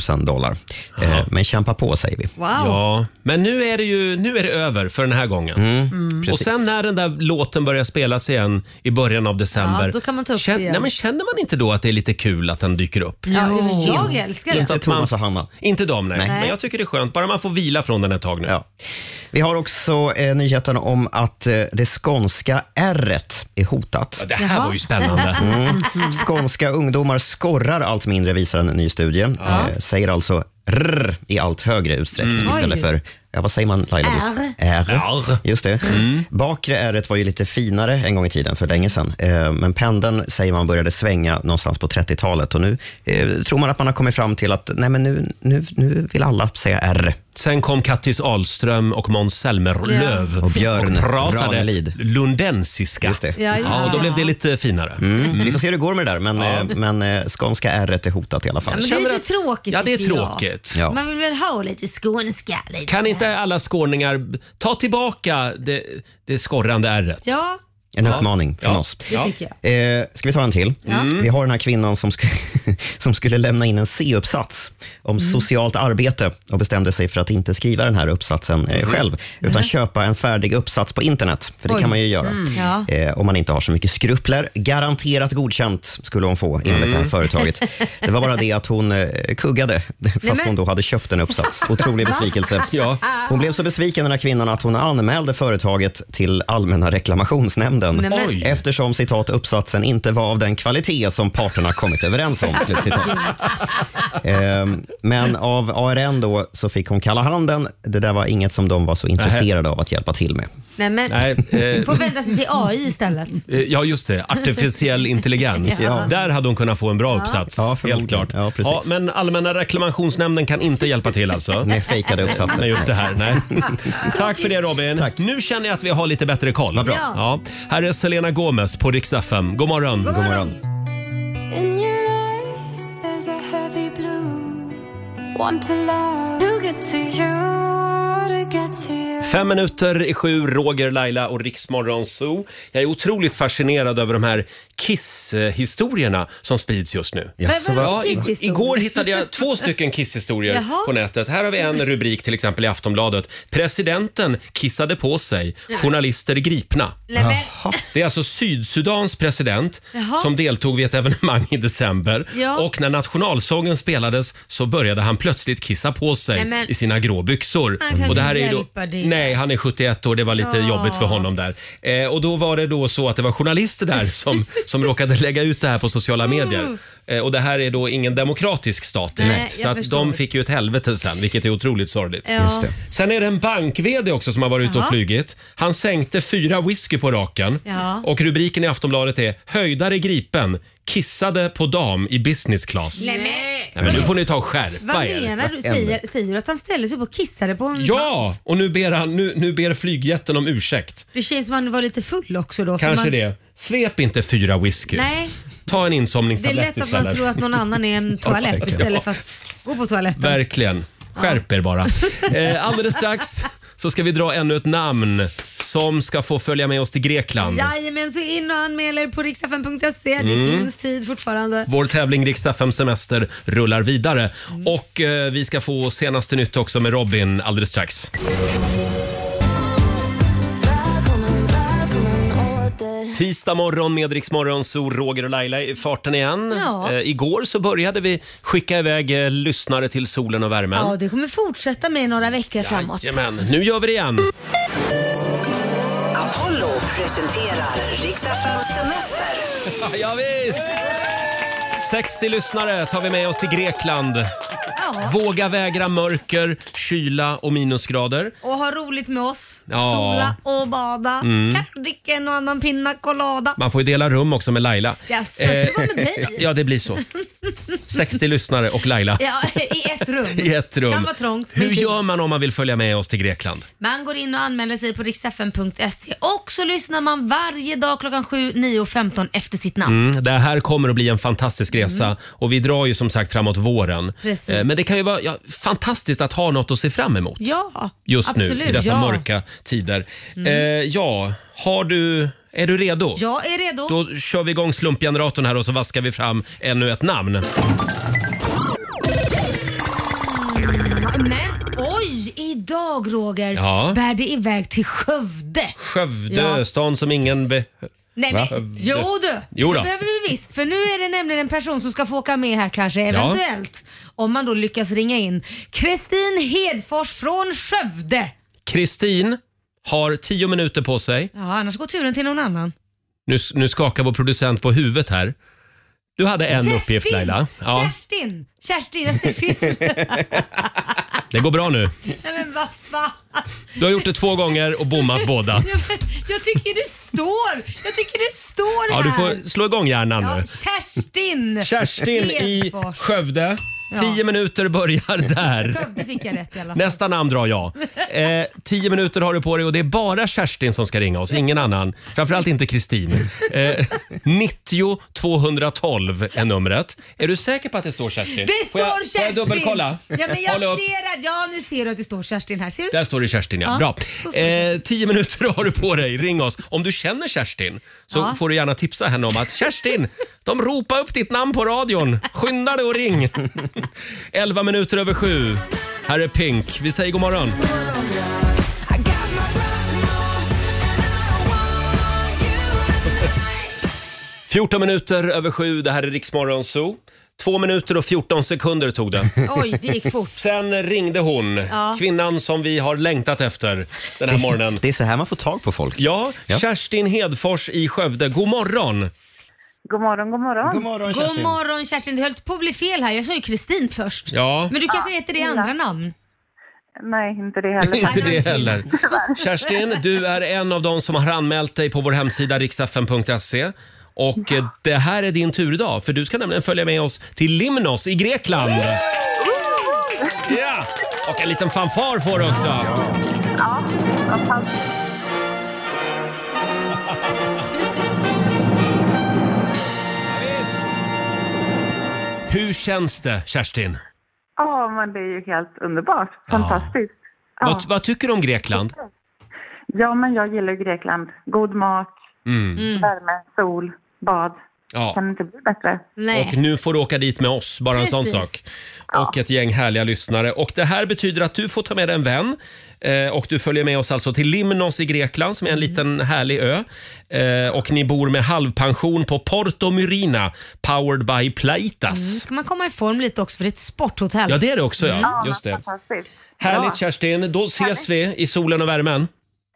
C: 000 dollar. Eh, men kämpa på, säger vi.
B: Wow.
A: Ja, men nu är det ju nu är det över för den här gången.
C: Mm.
B: Mm.
A: Och
C: Precis.
A: sen när den där låten börjar spelas igen i början av december.
B: Ja, då kan man ta upp
A: kän-
B: det igen.
A: nej, men känner man inte då att det är lite kul att den dyker upp?
B: Ja, men jag älskar det.
C: Inte
A: att man-
C: Thomas och Hanna.
A: Inte dem, nej.
C: Nej.
A: Men jag tycker det är skönt. Bara man får vila från den ett tag nu.
C: Ja. Vi har också eh, nyheten om att eh, det skånska r är hotat. Mm.
A: Ja, Det här var ju spännande.
B: Mm.
C: Skånska ungdomar skorrar allt mindre, visar en ny studie. Eh, säger alltså r i allt högre utsträckning istället
B: Mm. Oj.
C: för Ja, vad säger man Laila?
B: R. Mm.
C: R. Just det. Bakre r var ju lite finare en gång i tiden, för länge sedan. Eh, Men pendeln säger man började svänga någonstans på 30-talet och nu eh, tror man att man har kommit fram till att nej, men nu, nu, nu vill alla säga r.
A: Sen kom Kattis Ahlström och Måns Zelmerlöw
C: Och Björn
A: pratade
C: Ranelid.
A: lundensiska.
C: Just det.
B: Ja, just
A: Ja, och då
B: det.
A: blev det lite finare.
C: Mm. Vi får se hur det går med det där, men, eh, men eh, skånska r är hotat i alla fall.
B: Ja, men det är lite tråkigt
A: Ja, det är
B: tycker jag.
A: tråkigt.
C: Ja.
B: Man vill väl ha lite skånska. Lite
A: Kan
B: så här.
A: inte alla skåningar b- ta tillbaka det, det skorrande ärret?
B: Ja,
C: En uppmaning från
A: Ja.
C: oss.
B: det tycker jag.
C: Eh, ska vi ta en till?
B: Mm.
C: Vi har den här kvinnan som, sk- som skulle lämna in en C-uppsats om
B: Mm.
C: socialt arbete och bestämde sig för att inte skriva den här uppsatsen eh, själv, utan köpa en färdig uppsats på internet, för
B: Mm.
C: det
B: Oj. Mm.
C: kan man ju göra.
B: Ja.
C: Eh, om man inte har så mycket skrupler. Garanterat godkänt skulle hon få enligt
B: Mm.
C: det här företaget. Det var bara det att hon eh, kuggade, fast
B: men-
C: hon då hade köpt en uppsats. Otrolig besvikelse.
A: Ja.
C: Hon blev så besviken den här kvinnan att hon anmälde företaget till Allmänna reklamationsnämnden.
B: Nej, men-
A: Oj.
C: Eftersom citat uppsatsen inte var av den kvalitet som parterna kommit överens om. Slut, citat. Ehm, men av ARN då så fick hon kalla handen. Det där var inget som de var så intresserade av att hjälpa till med.
B: Nej, men,
A: Nej, eh,
B: Får vända sig till AI istället.
A: Eh, Ja, just det. Artificiell intelligens.
C: Ja.
A: Där hade hon kunnat få en bra uppsats.
C: Ja,
A: helt
C: förmodligen.
A: klart.
C: Ja, precis.
A: men Allmänna reklamationsnämnden kan inte hjälpa till alltså.
C: Med fejkade
A: Nej,
C: uppsatser.
A: just det här. Nej. Tack för det Robin. Nu känner jag att vi har lite bättre koll.
C: Vad bra.
B: Ja.
A: Ja. Här är Selena Gomez på Rix FM. God morgon.
C: God morgon.
I: In your eyes there's a heavy blue Want to love To get to you, to get to you
A: Fem minuter i sju, Roger, Laila och Riksmorgon Zoo. Jag är otroligt fascinerad över de här Kiss-historierna som sprids just nu.
C: Jaså,
B: Vad-
C: vad-
A: Ja, i-
B: Alltså, Kisshistorier.
A: igår hittade jag två stycken kisshistorier
B: Jaha.
A: på nätet. Här har vi en rubrik till exempel i Aftonbladet. Presidenten kissade på sig, journalister gripna.
B: Nej, men,
A: Det är alltså Sydsudans president
B: Jaha.
A: som deltog vid ett evenemang i december.
B: Ja.
A: Och när nationalsången spelades så började han plötsligt kissa på sig
B: Nej, men-
A: i sina grå byxor.
B: Han kan
A: och det här
B: inte
A: är ju
B: hjälpa det.
A: Nej, han är 71 år. Det var lite
B: Ja.
A: jobbigt för honom där. Eh, och då var det då så att det var journalister där som, som råkade lägga ut det här på sociala medier. Eh, och det här är då ingen demokratisk stat
B: Oh. Nej,
A: direkt. Så
B: jag
A: att
B: förstår.
A: de fick ju ett helvete sen, vilket är otroligt sorgligt.
B: ja.
C: det.
A: Sen är det en bank-VD också som har varit ute och
B: Jaha.
A: flugit. Han sänkte fyra whisky på raken.
B: Ja.
A: Och rubriken i Aftonbladet är “Höjdare gripen, kissade på dam i business class”. Nej,
B: Nej, men,
A: men nu får ni ta och skärpa
B: vad
A: er.
B: menar du? Säger, säger du att han ställde sig upp och kissade på en
A: Ja, och nu ber, han, nu, nu ber flygjätten om ursäkt.
B: Det känns som att han var lite full också då. för
A: Kanske
B: man,
A: det. Svep inte fyra whisky.
B: Nej,
A: Ta en
B: det är
A: insomningstablett
B: lätt att man
A: istället.
B: tror att någon annan är en toalett istället för att gå på toaletten.
A: Verkligen. Skärp er bara. Eh, alldeles strax så ska vi dra ännu ett namn som ska få följa med oss till Grekland.
B: Jajamän, så in och anmäl er på riksfm.se. Det
A: Mm.
B: finns tid fortfarande.
A: Vår tävling Rix FM Semester rullar vidare. Och eh, vi ska få senaste nytt också med Robin alldeles strax. Tisdag morgon med Rix Morgon, så Roger och Laila i farten igen.
B: Ja.
A: Eh, igår så började vi skicka iväg eh, lyssnare till solen och värmen.
B: Ja, det kommer fortsätta med i några veckor framåt.
A: Jajamän, nu gör vi det igen.
J: Apollo presenterar Riks-FMs semester.
A: ja, visst. 60 lyssnare tar vi med oss till Grekland. Våga vägra mörker, kyla och minusgrader.
B: Och ha roligt med oss.
A: Ja.
B: Sola och bada.
A: Mm.
B: Kanske dricka en och annan pina colada.
A: Man får ju dela rum också med Laila.
B: Jaså,
A: Eh.
B: det var med dig?
A: ja, det blir så. 60 lyssnare och Laila
B: Ja, i ett rum.
A: i ett rum.
B: Kan vara trångt. men
A: Hur
B: kul.
A: gör man om man vill följa med oss till Grekland?
B: Man går in och anmäler sig på riksfn.se och så lyssnar man varje dag klockan 7, 9 och 15 efter sitt namn.
A: Mm, det här kommer att bli en fantastisk resa och vi drar ju som sagt framåt våren.
B: Mm. Precis.
A: Eh, Men det kan ju vara ja, fantastiskt att ha något att se fram emot
B: Ja,
A: just
B: absolut.
A: nu i dessa
B: ja.
A: mörka tider.
B: Mm.
A: Eh, ja, har du, är du redo?
B: Jag är redo.
A: Då kör vi igång slumpgeneratorn här och så vaskar vi fram ännu ett namn.
B: Men oj, idag Roger
A: Ja.
B: bär det iväg till Skövde.
A: Skövde,
B: Ja.
A: stan som ingen... Be-
B: Nej,
A: Va?
B: men, jo du,
A: Jo då.
B: det behöver vi visst. För nu är det nämligen en person som ska få åka med här kanske, eventuellt. Om man då lyckas ringa in. Kristin Hedfors från Skövde.
A: Kristin har tio minuter på sig.
B: Ja, annars går turen till någon annan.
A: Nu, nu skakar vår producent på huvudet här. Du hade en
B: Kerstin!
A: uppgift Laila. Ja,
B: Kerstin! Kerstin, jag ser fel.
A: det går bra nu.
B: Nej men vad fan.
A: Du har gjort det två gånger och bommat båda.
B: Jag, jag tycker det står, jag tycker det står
A: Ja,
B: här.
A: du får slå igång hjärnan
B: Ja,
A: nu.
B: Kerstin!
A: Kerstin i
B: Hedfors.
A: Skövde.
B: Ja.
A: Tio minuter börjar där.
B: Skövde fick jag rätt i alla fall.
A: Nästa namn drar jag. Eh, tio minuter har du på dig och det är bara Kerstin som ska ringa oss, ingen annan. Framförallt inte Kristin. Eh, 90 212 är numret. Är du säker på att det står Kerstin?
B: Det
A: får
B: står
A: jag,
B: Kerstin!
A: Får jag dubbelkolla?
B: Ja, men jag
A: Håll upp.
B: ser att, ja nu ser du att det står Kerstin här. Ser du?
A: Där står det Kerstin, ja.
B: Ja,
A: Bra.
B: så står det.
A: Eh, tio minuter har du på dig. Ring oss. Om du känner Kerstin så
B: Ja.
A: får du gärna tipsa henne om att Kerstin, de ropar upp ditt namn på radion. Skynda dig och ring. Elva minuter över sju. Här är Pink. Vi säger god morgon. Fjorton minuter över sju. Det här är Riksmorgon Zoo. Två minuter och 14 sekunder tog det.
B: Oj, det gick fort.
A: Sen ringde hon,
B: Ja.
A: kvinnan som vi har längtat efter den här morgonen.
C: Det är så här man får tag på folk.
A: Ja, Kerstin Hedfors i Skövde. God morgon!
F: God morgon, god morgon.
C: God morgon
B: God morgon Kerstin. Det höll på att bli fel här. Jag sa ju Kristin först.
A: Ja,
B: Men du kanske heter det i andra namn?
F: Nej, inte det heller.
A: inte det heller. Kerstin, du är en av de som har anmält dig på vår hemsida riksfn.se. Och eh, det här är din tur idag, för du ska nämligen följa med oss till Limnos i Grekland. Ja! Och en liten fanfar får du också.
F: Ja, vad fantastiskt.
A: Hur känns det, Kerstin?
F: Ja, men det är ju helt underbart. Fantastiskt. Ja.
A: Vad, vad tycker du om Grekland?
F: Ja, men jag gillar Grekland. God mat,
A: Mm.
F: värme, sol, bad.
A: Ja.
F: Kan inte bli bättre.
A: Och nu får du åka dit med oss, bara en sån
F: Precis.
A: sak. Och ett gäng härliga lyssnare. Och det här betyder att du får ta med dig en vän. Eh, och du följer med oss alltså till Limnos i Grekland som är en
B: Mm.
A: liten härlig ö. Eh, och ni bor med halvpension på Porto Myrina, powered by Plaitas.
B: Mm, kan man komma i form lite också för det är ett sporthotell.
A: Ja, det är det också ja.
B: Mm.
A: Just det.
F: Fantastiskt.
A: Härligt Kerstin, då ses vi i solen och värmen.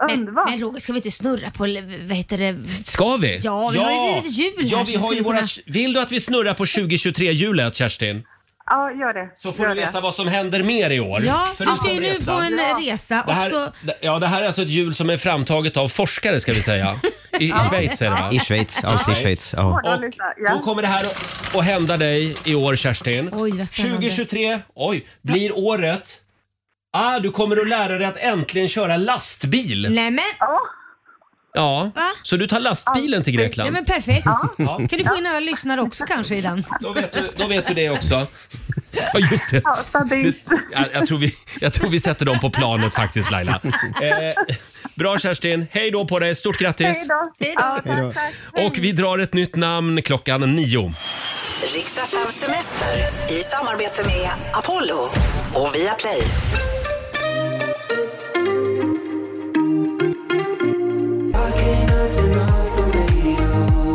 B: Men, men Roger, ska vi inte snurra på, vad heter det?
A: Ska vi?
B: Ja, vi har ju ett litet hjul
A: ja,
B: här
A: vi
B: som
A: har ju
B: skulle
A: våra...
B: kunna-
A: Vill du att vi snurrar på 2023-hjulet Kerstin?
F: Ja, gör det.
A: Så får
F: gör
A: du veta vad som händer mer i år.
B: Ja, du
A: förutom
B: ska ju nu på
A: resan.
B: en resa
A: Det här,
B: och så...
A: det- ja, det här är alltså ett hjul som är framtaget av forskare ska vi säga. I, i Schweiz är det va?
C: I Schweiz, alltid i Schweiz. Ja.
A: Och då kommer det här att- att hända dig i år Kerstin.
B: Oj, vad spännande.
A: 2023, oj, blir året... Ah, du kommer att lära dig att äntligen köra lastbil.
B: Nej men,
A: Ja,
B: Va?
A: så du tar lastbilen till
B: nej,
A: Grekland.
B: men perfekt.
A: Ja.
B: Kan du få in alla lyssnare också kanske i den?
A: Då vet du, då vet du det också. Ja, just det.
F: Ja, stabilt.
A: Jag, jag, tror vi, jag tror vi sätter dem på planet faktiskt Laila. Eh, Bra Kerstin, hej då på dig. Stort grattis.
F: Hej då.
A: Hej då. Och vi drar ett nytt namn klockan nio.
J: Riksdag fem semester i samarbete med Apollo och Viaplay.
D: radio.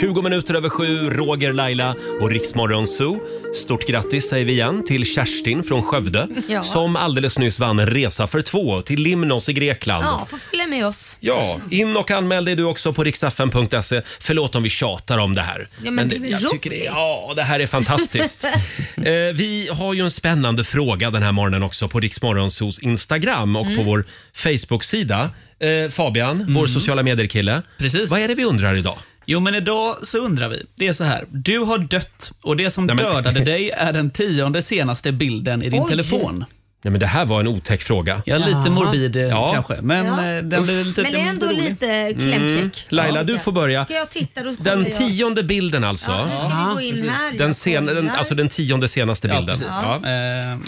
A: 20 minuter över sju, Roger, Laila och Riksmorgon Zoo. Stort grattis säger vi igen till Kerstin från Skövde
B: Ja.
A: som alldeles nyss vann en resa för två till Limnos i Grekland.
B: Ja, får följa med oss.
A: Ja, in och anmäl dig du också på riksfn.se. Förlåt om vi tjatar om det här.
B: men det är väl
A: jag
B: roligt.
A: tycker det, ja, det här är fantastiskt. eh, vi har ju en spännande fråga den här morgonen också på Riksmorgonsos Instagram och på
H: Mm.
A: vår Facebook-sida. Eh, Fabian,
B: Mm.
A: vår sociala medier-kille. Precis. Vad är det vi undrar idag?
H: Jo, men idag så undrar vi. Det är så här. Du har dött och det som
A: Nej, men-
H: dödade dig är den tionde senaste bilden i din
A: Oj.
H: telefon.
A: Nej, men det här var en otäck fråga.
H: Ja, lite morbid, eh, kanske, men, Ja. eh, den blir lite-
B: Men det är ändå lite
A: Mm.
B: klämkäck.
A: Laila, du får börja.
B: Ska jag titta? Då kollar
A: Den
B: jag.
A: tionde bilden alltså.
B: Ja, nu ska vi gå in
A: Precis.
B: här.
A: Den,
B: Jag
A: sen, den,
B: kollar.
A: alltså den tionde senaste bilden.
H: precis.
A: Ja.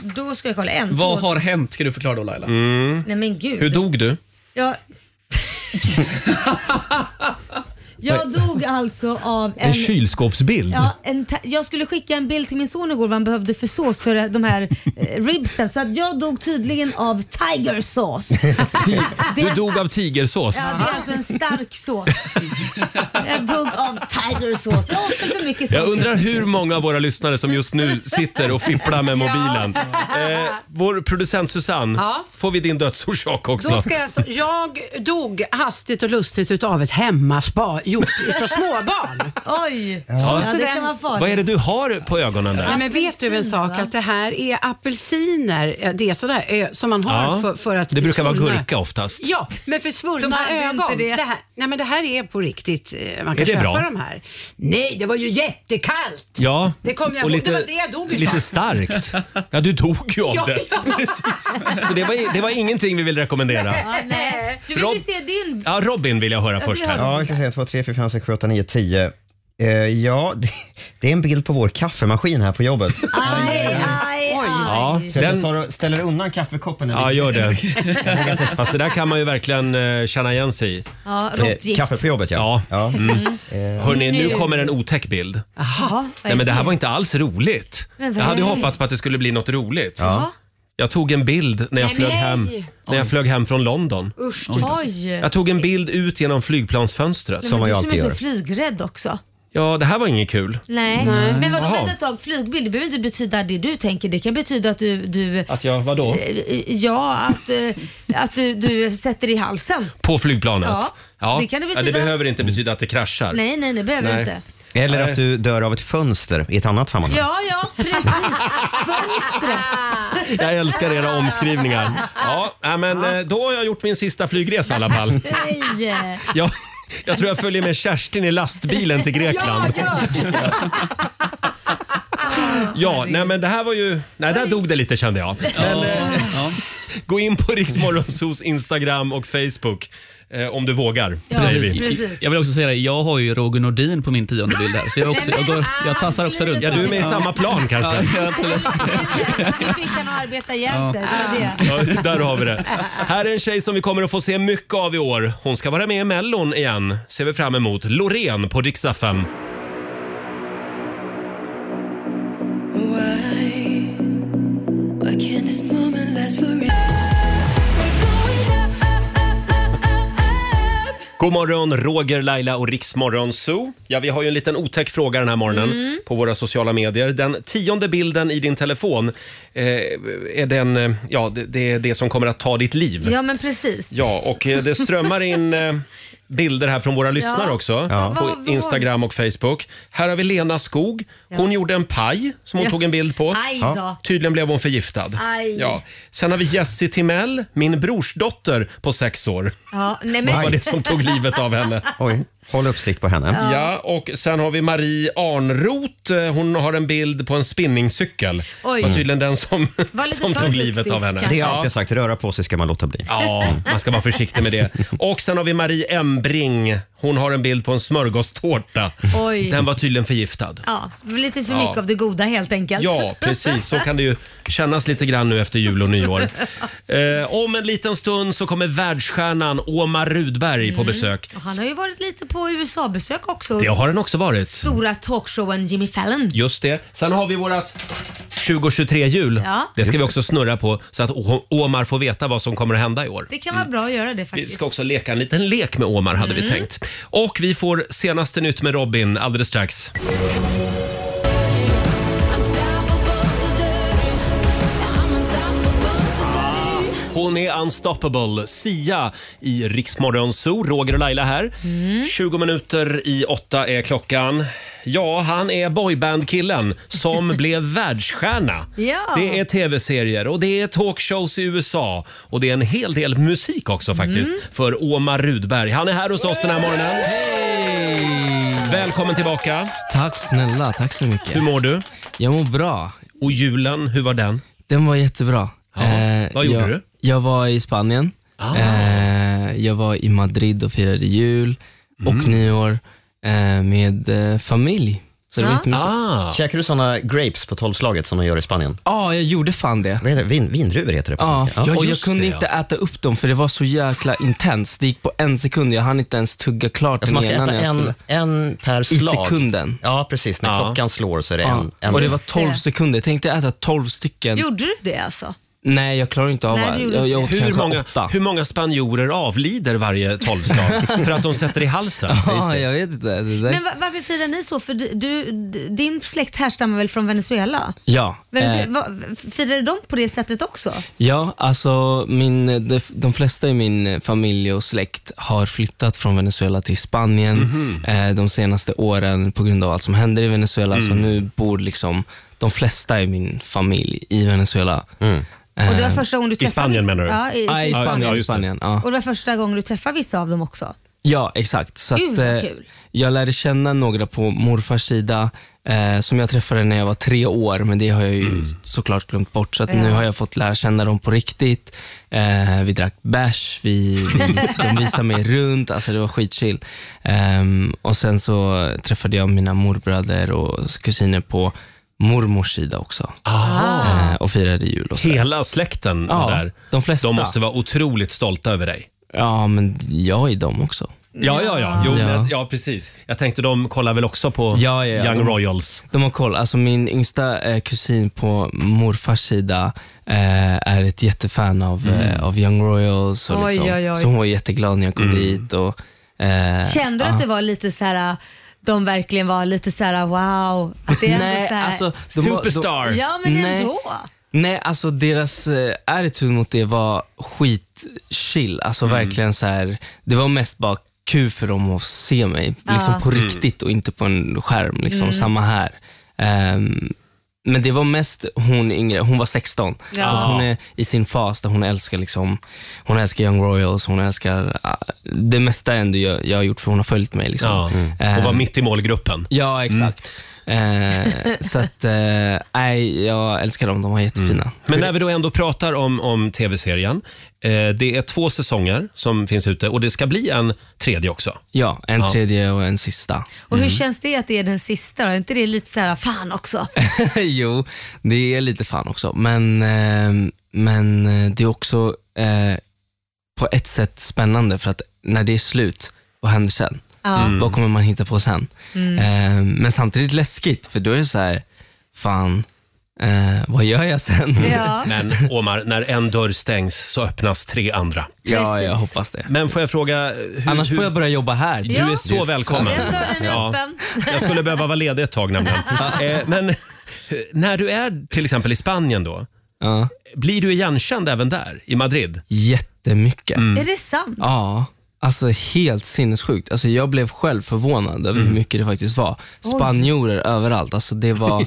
B: Då ska jag kolla. En,
H: Eh, Vad
B: två.
H: har hänt? Ska du förklara då Laila?
B: Nej men gud.
A: Hur dog du?
B: Jag... jag dog alltså av en...
A: En kylskåpsbild?
B: Ja, en ta- jag skulle skicka en bild till min son igår vad han behövde för sås för de här eh, ribsen. Så att jag dog tydligen av tiger sauce.
A: Du dog av tigersås.
B: Ja, det är alltså en stark sås. Jag dog av tiger sauce. Jag åt för mycket
A: Jag
B: socker.
A: undrar hur många av våra lyssnare som just nu sitter och fipplar med mobilen. Eh, vår producent Susanne,
G: Ja.
A: får vi din dödsorsak också?
G: Då ska jag, så, jag dog hastigt och lustigt utav ett hemmaspa gjort utav småbarn.
B: Oj!
A: Ja. Ja, det kan
B: vara
A: Vad är det du har på ögonen där?
G: Nej, men vet du en sak? Att det här är apelsiner. eh, Det är sådär eh, som man har
A: Ja.
G: för, för att...
A: det brukar vara
G: svullna-
A: gurka oftast.
G: Ja, men för
B: De
G: svullna
B: hade ju
G: ögon.
B: inte
G: Det.
B: det.
G: här, nej, men det här är på riktigt. eh, Man
A: Är
G: kan
A: det
G: köpa
A: bra?
G: de här. Nej, det var ju jättekallt.
A: Ja,
G: Det kom jag
A: och
G: ihåg.
A: lite,
G: Det var det jag dog utav.
A: Lite starkt. Ja, du dog ju av
G: Ja,
A: det.
G: ja.
A: Så det var, det var ingenting vi vill rekommendera.
B: Ja, nej. Du vill ju
A: Rob-
B: se din.
A: Ja, Robin vill jag höra
B: Jag
A: först
B: vill
A: här.
B: höra.
C: Ja, jag ska säga 1, 2, 3, 4, 5, 6, 7, 8, 9, 10. Eh, ja, det, det är en bild på vår kaffemaskin här på jobbet.
B: Aj, aj, aj.
A: Ja,
C: Så jag
A: den-
C: tar och ställer undan kaffekoppen. när vi-
A: Ja, gör det. Fast det där kan man ju verkligen eh, känna igen sig i.
B: Ja,
C: Eh,
B: råttgift.
C: Kaffe på jobbet, ja. ja. Eh,
A: Hörni, nu
B: Nu.
A: kommer en otäck bild.
B: Jaha, vad
A: Nej,
B: är
A: men det här var inte alls roligt.
B: Men
A: Jag
B: vad
A: hade ju
B: är det?
A: hoppats på att det skulle bli något roligt.
B: Ja.
A: Jag tog en bild när jag
G: Nej,
A: flög
G: nej.
A: hem, när jag flög hem från London.
G: Usch,
B: Oj!
A: Jag tog en bild ut genom flygplansfönstret.
C: Som man ju
B: du
C: alltid
B: som är
C: gör.
B: så flygrädd också.
A: Ja, det här var inget kul.
B: Nej. Men vadå,
A: Jaha.
B: vänta ett tag. Flygbild, det behöver inte betyda det du tänker. Det kan betyda att du, du eh,
A: Att jag, vadå?
B: eh, ja, att, eh, att du, du sätter i halsen.
A: På flygplanet?
B: Ja, det kan det
A: Ja, det
B: betyda.
A: behöver inte betyda att det kraschar.
B: Nej, nej, det behöver
A: Nej.
B: inte.
C: Eller
A: Nej.
C: att du dör av ett fönster i ett annat sammanhang.
B: Ja, ja, precis. Fönstret.
A: Jag älskar era omskrivningar. Ja, nej, men eh, då har jag gjort min sista flygresa i alla fall.
B: Nej.
A: Jag, jag tror jag följer med Kerstin i lastbilen till Grekland.
G: Ja,
A: Ja, nej men det här var ju... Nej, där dog det lite kände jag. Men, eh, Gå in på Riksmorgonsos Instagram och Facebook eh, om du vågar,
B: Ja,
A: säger vi.
B: precis.
H: Jag vill också säga det, jag har ju Roger Nordin på min tionde bild här, så jag, också, jag, går, jag tassar också runt.
A: Ja, du är med i samma plan
H: Ja,
A: kanske.
H: ja, absolut.
B: Nu fick han att arbeta ihjäl sig. det var det.
A: Ja, där har vi det. Här är en tjej som vi kommer att få se mycket av i år. Hon ska vara med i Mellon igen, ser vi fram emot. Loreen på Dix FM. God morgon, Roger, Laila och Riksmorgon Zoo. Ja, vi har ju en liten otäck fråga den här morgonen
B: Mm.
A: på våra sociala medier. Den tionde bilden i din telefon, eh, är den, eh, ja, det, det är det som kommer att ta ditt liv.
B: Ja, men precis.
A: Ja, och eh, det strömmar in eh, bilder här från våra lyssnare också
B: Ja. Vad-
A: på
B: vad-
A: Instagram och Facebook. Här har vi Lena Skog. Hon gjorde en paj som hon
B: Ja.
A: tog en bild på.
B: Aj då.
A: Tydligen blev hon förgiftad.
B: Aj.
A: Ja. Sen har vi Jessie Timell, min brors dotter på sex år.
B: Ja, nej,
A: Det var
B: men,
A: det som tog livet av henne.
C: Oj, håll uppsikt på henne.
A: Ja, och sen har vi Marie Arnroth. Eh, Hon har en bild på en spinningcykel.
B: Oj.
A: var tydligen den som,
B: Var lite
A: som
B: för
A: tog
B: duktig,
A: livet av henne.
C: Det är
A: Ja.
C: alltid sagt, röra på sig ska man låta bli.
A: Ja, man ska vara försiktig med det. Och sen har vi Marie Embring. Hon har en bild på en smörgåstårta.
B: Oj.
A: Den var tydligen förgiftad.
B: Ja, lite för
A: Ja.
B: mycket av det goda helt enkelt.
A: Ja, precis. Så kan det ju kännas lite grann nu efter jul och nyår. Eh, om en liten stund så kommer världsstjärnan Omar Rudberg på besök.
B: Mm. Och Han har ju varit lite på USA-besök också.
A: Det har den också varit.
B: Stora talkshowen Jimmy Fallon.
A: Just det. Sen har vi vårat 2023-hjul.
B: Ja.
A: Det ska vi också snurra på så att O- Omar får veta vad som kommer att hända i år.
B: Det
K: Mm.
B: kan vara bra att göra det
A: Vi
B: faktiskt.
A: ska också leka en liten lek med Omar hade vi
B: Mm.
A: tänkt. Och vi får senaste nytt med Robin alldeles strax. Hon är unstoppable. Sia i Riksmorgon Zoo. Roger och Laila här.
K: Mm.
A: 20 minuter i åtta är klockan. Ja, han är boybandkillen som blev världsstjärna.
B: Ja.
A: Det är tv-serier och det är talkshows i USA och det är en hel del musik också faktiskt
K: Mm.
A: för Omar Rudberg. Han är här hos oss den här morgonen. Välkommen tillbaka.
K: Tack snälla, tack så mycket.
A: Hur mår du?
K: Jag mår bra.
A: Och julen, hur var den?
K: Den var jättebra. Eh,
A: Ja, vad gjorde
K: jag,
A: du?
K: Jag var i Spanien.
A: Ah.
K: Eh, jag var i Madrid och firade jul och
C: Mm.
K: nyår eh, med eh, familj. Så det var jättemysigt.
A: Ah.
C: Käkar du såna grapes på tolvslaget som de gör i Spanien?
H: Ah,
K: Ja, jag gjorde fan det.
C: Vad heter det? Vin, vindruvor heter det på
K: Ja,
C: svenska.
K: och jag kunde inte äta upp dem för det var så jäkla intenskt. Det gick på en sekund. Jag hann inte ens tugga klart
C: Alltså,
K: den
C: man ska
K: ena
C: äta
K: när jag
C: en,
K: skulle.
C: en per slag.
K: sekunden.
C: Ja, precis. När
K: Ja.
C: klockan slår så är det
K: Ja.
C: en, en.
K: Och det var
B: Just
K: 12
B: det.
K: sekunder. Tänk dig äta 12 stycken.
B: Eh, Gjorde du det alltså?
K: Nej, jag klarar inte av
B: Nej,
K: det.
B: det gjorde
K: Jag, jag åt
B: inte.
A: Hur
K: kanske
A: många,
K: åtta.
A: hur många spanjorer avlider varje tolvslag för att de sätter i halsen?
K: Ja, jag vet inte. Det där...
B: Men va- varför firar ni så? För du, du, din släkt härstammar väl från Venezuela?
K: Ja.
B: Men,
K: eh,
B: va, firade de på det sättet också?
K: Ja, alltså min, de, de flesta i min eh, familj och släkt har flyttat från Venezuela till Spanien eh, de senaste åren på grund av allt som händer i Venezuela. Så
L: Mm.
K: nu bor liksom de flesta i min familj i Venezuela.
B: Och det var
K: Eh,
B: första gången du träffade vissa- Ja, i,
K: Ja, i Spanien. Ja, just det. Spanien, ja.
B: Och det var första gången du träffade vissa av dem också?
K: Ja, exakt. Så
B: Gud, vad
K: eh,
B: kul.
K: Jag lärde känna några på morfars sida eh, som jag träffade när jag var tre år, men det har jag ju såklart glömt bort. Så att
B: Ja.
K: nu har jag fått lära känna dem på riktigt. Eh, vi drack bärs, vi, vi, de visade mig runt, alltså det var skitchill. Ehm, och sen så träffade jag mina morbröder och kusiner på mormors sida också.
A: Ah.
K: Eh, och firade jul och så.
A: Hela släkten var
K: Ja,
A: där.
K: de flesta.
A: De måste vara otroligt stolta över dig.
K: Ja, men jag är dem också.
A: Ja, ja, ja. Jo,
K: Ja.
A: Men, ja precis. Jag tänkte de kollar väl också på
K: Ja, ja, ja.
A: Young
K: De-
A: Royals.
K: De har koll. Alltså min yngsta eh, kusin på morfars sida eh, är ett jättefan av, eh, av Young Royals. Och
B: Mm. Oj,
K: liksom,
B: oj, Mm. oj.
K: Så hon var jätteglad när jag kom dit. Och, eh,
B: Kände du
K: ja.
B: att det var lite så här de verkligen var lite så här wow? Att det är ändå
K: Nej,
B: så här,
K: alltså, de var- de- Superstar.
B: ja, men
K: Nej.
B: ändå.
K: Nej, alltså deras eh, attityd mot det var skitchill. Alltså
A: Mm.
K: verkligen så här, det var mest bara kul för dem att se mig,
B: Ja.
K: liksom på
B: Mm.
K: riktigt och inte på en skärm. Liksom,
B: Mm.
K: Samma här. Ehm, men det var mest hon yngre, hon var 16.
B: Ja.
K: Så att hon är i sin fas där hon älskar liksom, hon älskar Young Royals, hon älskar ah, det mesta ändå jag, jag har gjort för hon har följt mig. Liksom.
A: Ja.
K: Ehm,
A: Och Mm. var mitt i målgruppen.
K: Ja, exakt. Eh, så att, eh, nej, jag älskar dem. De var jättefina.
A: Men när vi då ändå pratar om, om tv-serien. Eh, det är två säsonger som finns ute och det ska bli en tredje också.
K: Ja, en
A: Ja.
K: tredje och en sista.
B: Och hur känns det att det är den sista? då? Är inte det lite så här fan också?
K: jo, det är lite fan också. Men, eh, men eh, det är också eh, på ett sätt spännande för att när det är slut, vad händer sen?
B: Ja. Mm.
K: Vad kommer man hitta på sen?
B: Mm.
K: Eh, men samtidigt läskigt för då är det så här, fan, eh, vad gör jag sen?
A: Men Omar, när en dörr stängs så öppnas tre andra.
K: Ja, jag hoppas det.
A: Men får jag fråga... Hur,
K: Annars får jag börja jobba här.
A: Du är
B: Mm.
A: så välkommen. Ja. Jag skulle behöva vara ledig ett tag nämligen. Eh, Men när du är till exempel i Spanien då, blir du igenkänd även där, i Madrid?
K: Jättemycket.
B: Är det sant?
K: Ja, alltså helt sinnessjukt. Alltså jag blev själv förvånad över hur mycket det faktiskt var.
B: Oj.
K: Spanjorer överallt. Alltså det var...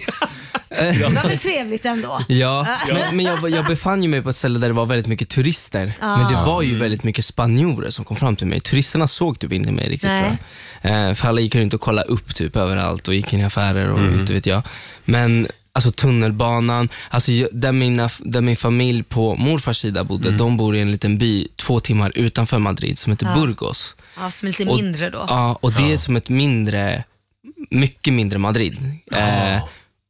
B: Det var väl trevligt ändå?
K: Ja,
B: Ja.
K: men, men jag, var- jag befann ju mig på ett ställe där det var väldigt mycket turister.
B: Ah.
K: Men det var ju väldigt mycket spanjorer som kom fram till mig. Turisterna såg typ inte mig riktigt
B: Nej.
K: tror jag. Eh, för alla gick runt och kollade upp typ överallt och gick in i affärer och inte vet jag. Men alltså tunnelbanan, alltså, jag- där, mina, där min familj på morfars sida bodde, de bor i en liten by två timmar utanför Madrid som heter
B: Ja.
K: Burgos.
B: Ja, som är lite
K: Och-
B: mindre då.
K: Ja, och det är som ett mindre, mycket mindre Madrid. Eh,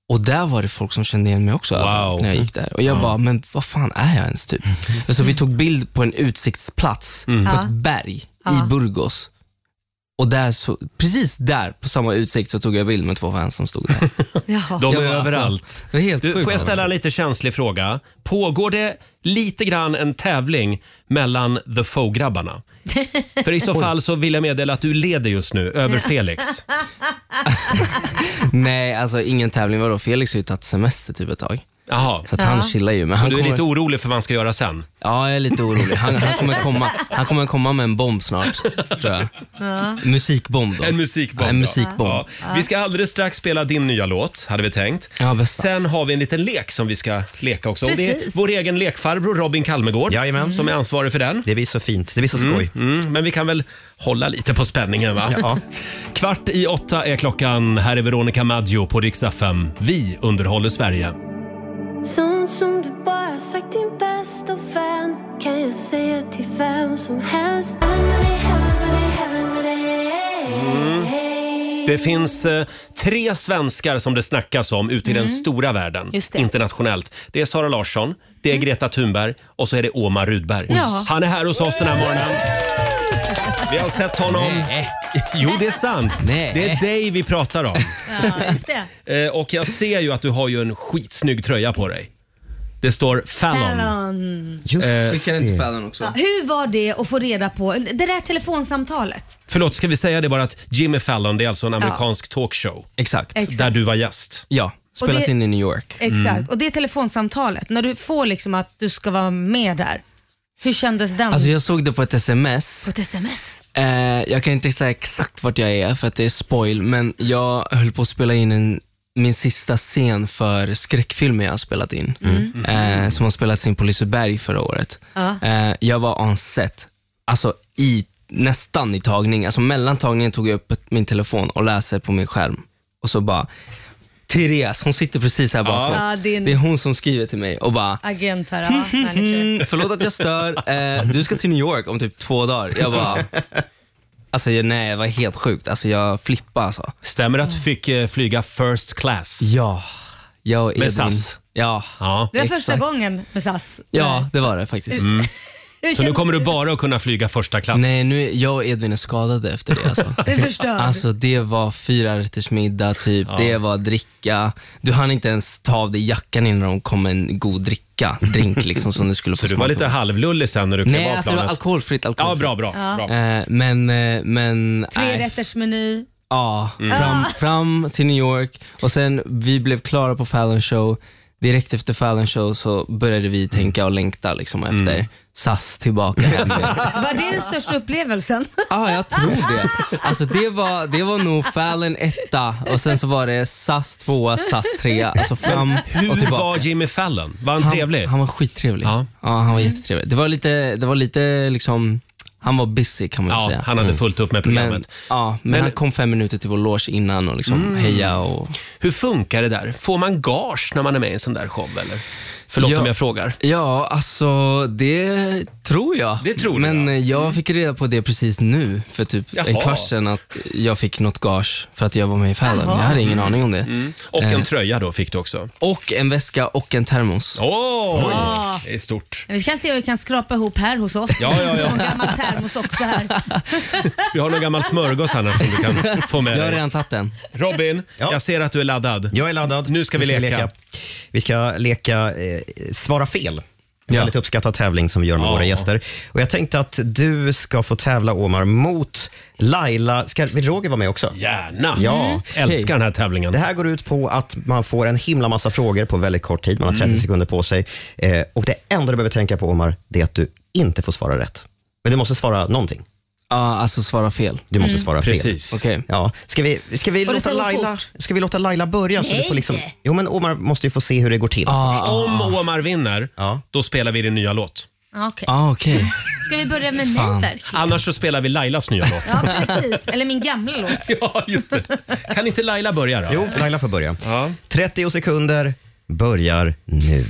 K: och där var det folk som kände igen mig också överallt när jag
A: Mm.
K: gick där. Och jag bara, men vad fan är jag ens typ? Så vi tog bild på en utsiktsplats
A: Mm.
K: på
B: Ja.
K: ett berg
B: Ja.
K: i Burgos. Och där så, precis där, på samma utsikt, så tog jag bild med två fans som stod där.
B: Jaha.
K: Jag
A: De är
K: bara, alltså,
A: överallt.
K: det är helt
A: du,
K: sjukt.
A: får jag ställa en lite känslig fråga? Pågår det lite grann en tävling mellan The Foe-grabbarna? För i så fall så vill jag meddela att du leder just nu över Felix.
K: Nej, alltså ingen tävling. Vadå? Felix har ju tagit semester typ ett tag.
A: Jaha.
K: Så att han
A: Ja.
K: chillar ju. Men
A: Så
K: han
A: du är
K: kommer...
A: lite orolig för vad han ska göra sen?
K: Ja, jag är lite orolig. Han, han, kommer, komma, han kommer komma med en bomb snart, tror jag.
B: Ja.
K: Musikbomb då.
A: En musikbomb.
K: Ja, en
A: ja.
K: musikbomb.
A: Ja. Vi ska alldeles strax spela din nya låt, hade vi tänkt. Sen har vi en liten lek som vi ska leka också. Och det är
K: Precis.
A: vår egen lekfarbror Robin Kalmegård som är ansvarig för den.
C: Det blir så fint. Det blir så skoj.
A: Mm, mm, men vi kan väl hålla lite på spänningen va? Kvart i åtta är klockan. Här är Veronica Maggio på Rix FM. Vi underhåller Sverige.
L: Sånt som du bara sagt din bästa vän kan jag säga till vem som helst. Vem är det, vem är det, vem är det?
A: Det finns eh, tre svenskar som det snackas om ute i den stora världen,
L: Just det.
A: internationellt. Det är Sara Larsson, det är Greta Thunberg och så är det Omar Rudberg.
D: Ja.
A: Han är här hos oss den här morgonen. Vi har sett honom... Jo, det är sant. Det är dig vi pratar om.
B: Ja, just det.
A: Eh, Och jag ser ju att du har ju en skitsnygg tröja på dig. Det står Fallon.
B: Fallon.
A: Eh,
K: Skickar den till Fallon också?
B: Ja, hur var det att få reda på det där telefonsamtalet?
A: Förlåt, ska vi säga det bara att Jimmy Fallon, det är alltså en
B: Ja.
A: amerikansk talkshow.
K: Exakt.
B: Exakt.
A: Där du var gäst.
K: Ja,
B: spelas det- in i
K: New York.
B: Exakt, och det telefonsamtalet, när du får liksom att du ska vara med där. Hur kändes den?
K: Alltså jag såg det på ett sms.
B: På ett sms?
K: Eh, jag kan inte säga exakt vart jag är för att det är spoil, men jag höll på att spela in en, min sista scen för skräckfilmen jag har spelat in.
D: Mm.
K: Eh, som har spelats in på Liseberg förra året.
D: Ja.
K: Eh, jag var on set, alltså i, nästan i tagning. Alltså mellan tagningen tog jag upp min telefon och läser på min skärm. Och så bara, Therese, hon sitter precis här bakom.
B: Ja, det
K: det,
B: är
K: är
B: en-
K: hon som skriver till mig och bara,
B: Agent här, ja. Nej, ni kör.
K: Mm, förlåt att jag stör. Eh, du ska till New York om typ två dagar. Jag bara, alltså jag, nej, det var helt sjukt. Alltså jag flippade alltså.
A: Stämmer det att du fick eh, flyga first class?
K: Ja, jag och
A: Med
K: Edvin.
A: SAS?
K: Ja.
A: ja.
B: Det var första gången med SAS.
K: Ja, det var det faktiskt.
B: Mm. Hur
A: Så nu
B: kändes
A: kommer du bara att kunna flyga första klass?
K: Nej, nu är jag och Edvin är skadade efter det. Alltså.
B: Det är förstört.
K: Alltså det var fyra rätters middag typ, det var dricka. Du hann inte ens ta av dig jackan innan de kom med en god dricka, drink liksom som du skulle få
A: Så du var
K: smaka
A: lite
K: på.
A: halvlullig sen när du klev
K: Nej,
A: av
K: alltså det var
A: planet?
K: alkoholfritt. alkoholfritt.
A: Ja, bra, bra.
B: Ja.
A: bra.
K: Eh, men, eh, men... nej.
B: Trerättersmeny.
K: Ja,
B: Mm.
K: fram,
B: Ah.
K: fram till New York och sen vi blev klara på Fallon show. Direkt efter Fallon show så började vi tänka och längta liksom
A: Mm.
K: efter SAS tillbaka hem.
B: Var det den största upplevelsen?
K: Ja, jag tror det. Alltså det var, det var nog Fallon etta och sen så var det SAS tvåa, SAS trea. Alltså fram
A: Hur
K: och tillbaka.
A: var Jimmy Fallon? Var han, trevlig?
K: Han var skittrevlig. Ja, han var jättetrevlig. Det var lite, det var lite liksom, han var busy kan man
A: Ja,
K: säga. Mm.
A: han hade fullt upp med programmet.
K: Men, ja, men,
A: Men-
K: han kom fem minuter till vår loge innan och liksom
A: Mm.
K: heja och...
A: Hur funkar det där? Får man gage när man är med i en sån där show eller? Förlåt
K: Ja.
A: om jag frågar.
K: Ja, alltså det tror jag. Det tror Men eh, jag fick reda på det precis nu, för typ en
A: Mm. Jaha.
K: kvart sedan, att jag fick något gage för att jag var med i Fallon.
A: Jaha.
K: Jag hade ingen
A: Mm.
K: aning om det.
A: Mm. Och en
K: Eh,
A: tröja då fick du också.
K: och en väska och en termos.
A: Åh,
B: Ja.
A: det är stort.
B: Vi kan se hur vi kan skrapa ihop här hos oss.
A: Ja, ja, ja.
B: Någon gammal termos också här.
A: Vi har någon gammal smörgås här som du kan få med
C: Jag har
K: redan tagit den.
A: Robin, jag ser att du är laddad.
C: Jag är laddad.
A: Nu ska vi leka.
C: Vi ska leka eh, Svara fel. En väldigt uppskattad tävling som vi gör med
A: Ja.
C: våra gäster. Och jag tänkte att du ska få tävla, Omar, mot Laila. Ska, vill Roger vara med också?
A: Gärna.
C: Ja.
A: Mm. Älskar den här tävlingen.
C: Det här går ut på att man får en himla massa frågor på väldigt kort tid. Man har 30
A: Mm.
C: sekunder på sig. Eh, och Det enda du behöver tänka på, Omar, det är att du inte får svara rätt. Men du måste svara någonting.
K: Ja, alltså svara fel.
C: Du måste
K: Mm.
C: svara fel.
K: Precis. Okej.
C: Ja. Ska vi, ska vi
K: Och det
C: låta
K: ska gå
C: Laila...
K: fort.
C: Ska vi låta Laila börja? Så du får liksom, jo, men Omar måste ju få se hur det går till
K: Ah,
C: först.
A: Om Omar vinner, då spelar vi din nya låt.
B: Ja, Okej.
K: Ah, okay.
B: Ska vi börja med mig
A: Fan.
B: verkligen?
A: Annars så spelar vi Lailas nya låt.
B: Ja, precis. Eller min gamla låt.
A: Ja, just det. Kan inte Laila börja då?
C: Jo, Laila får börja. 30 sekunder börjar nu.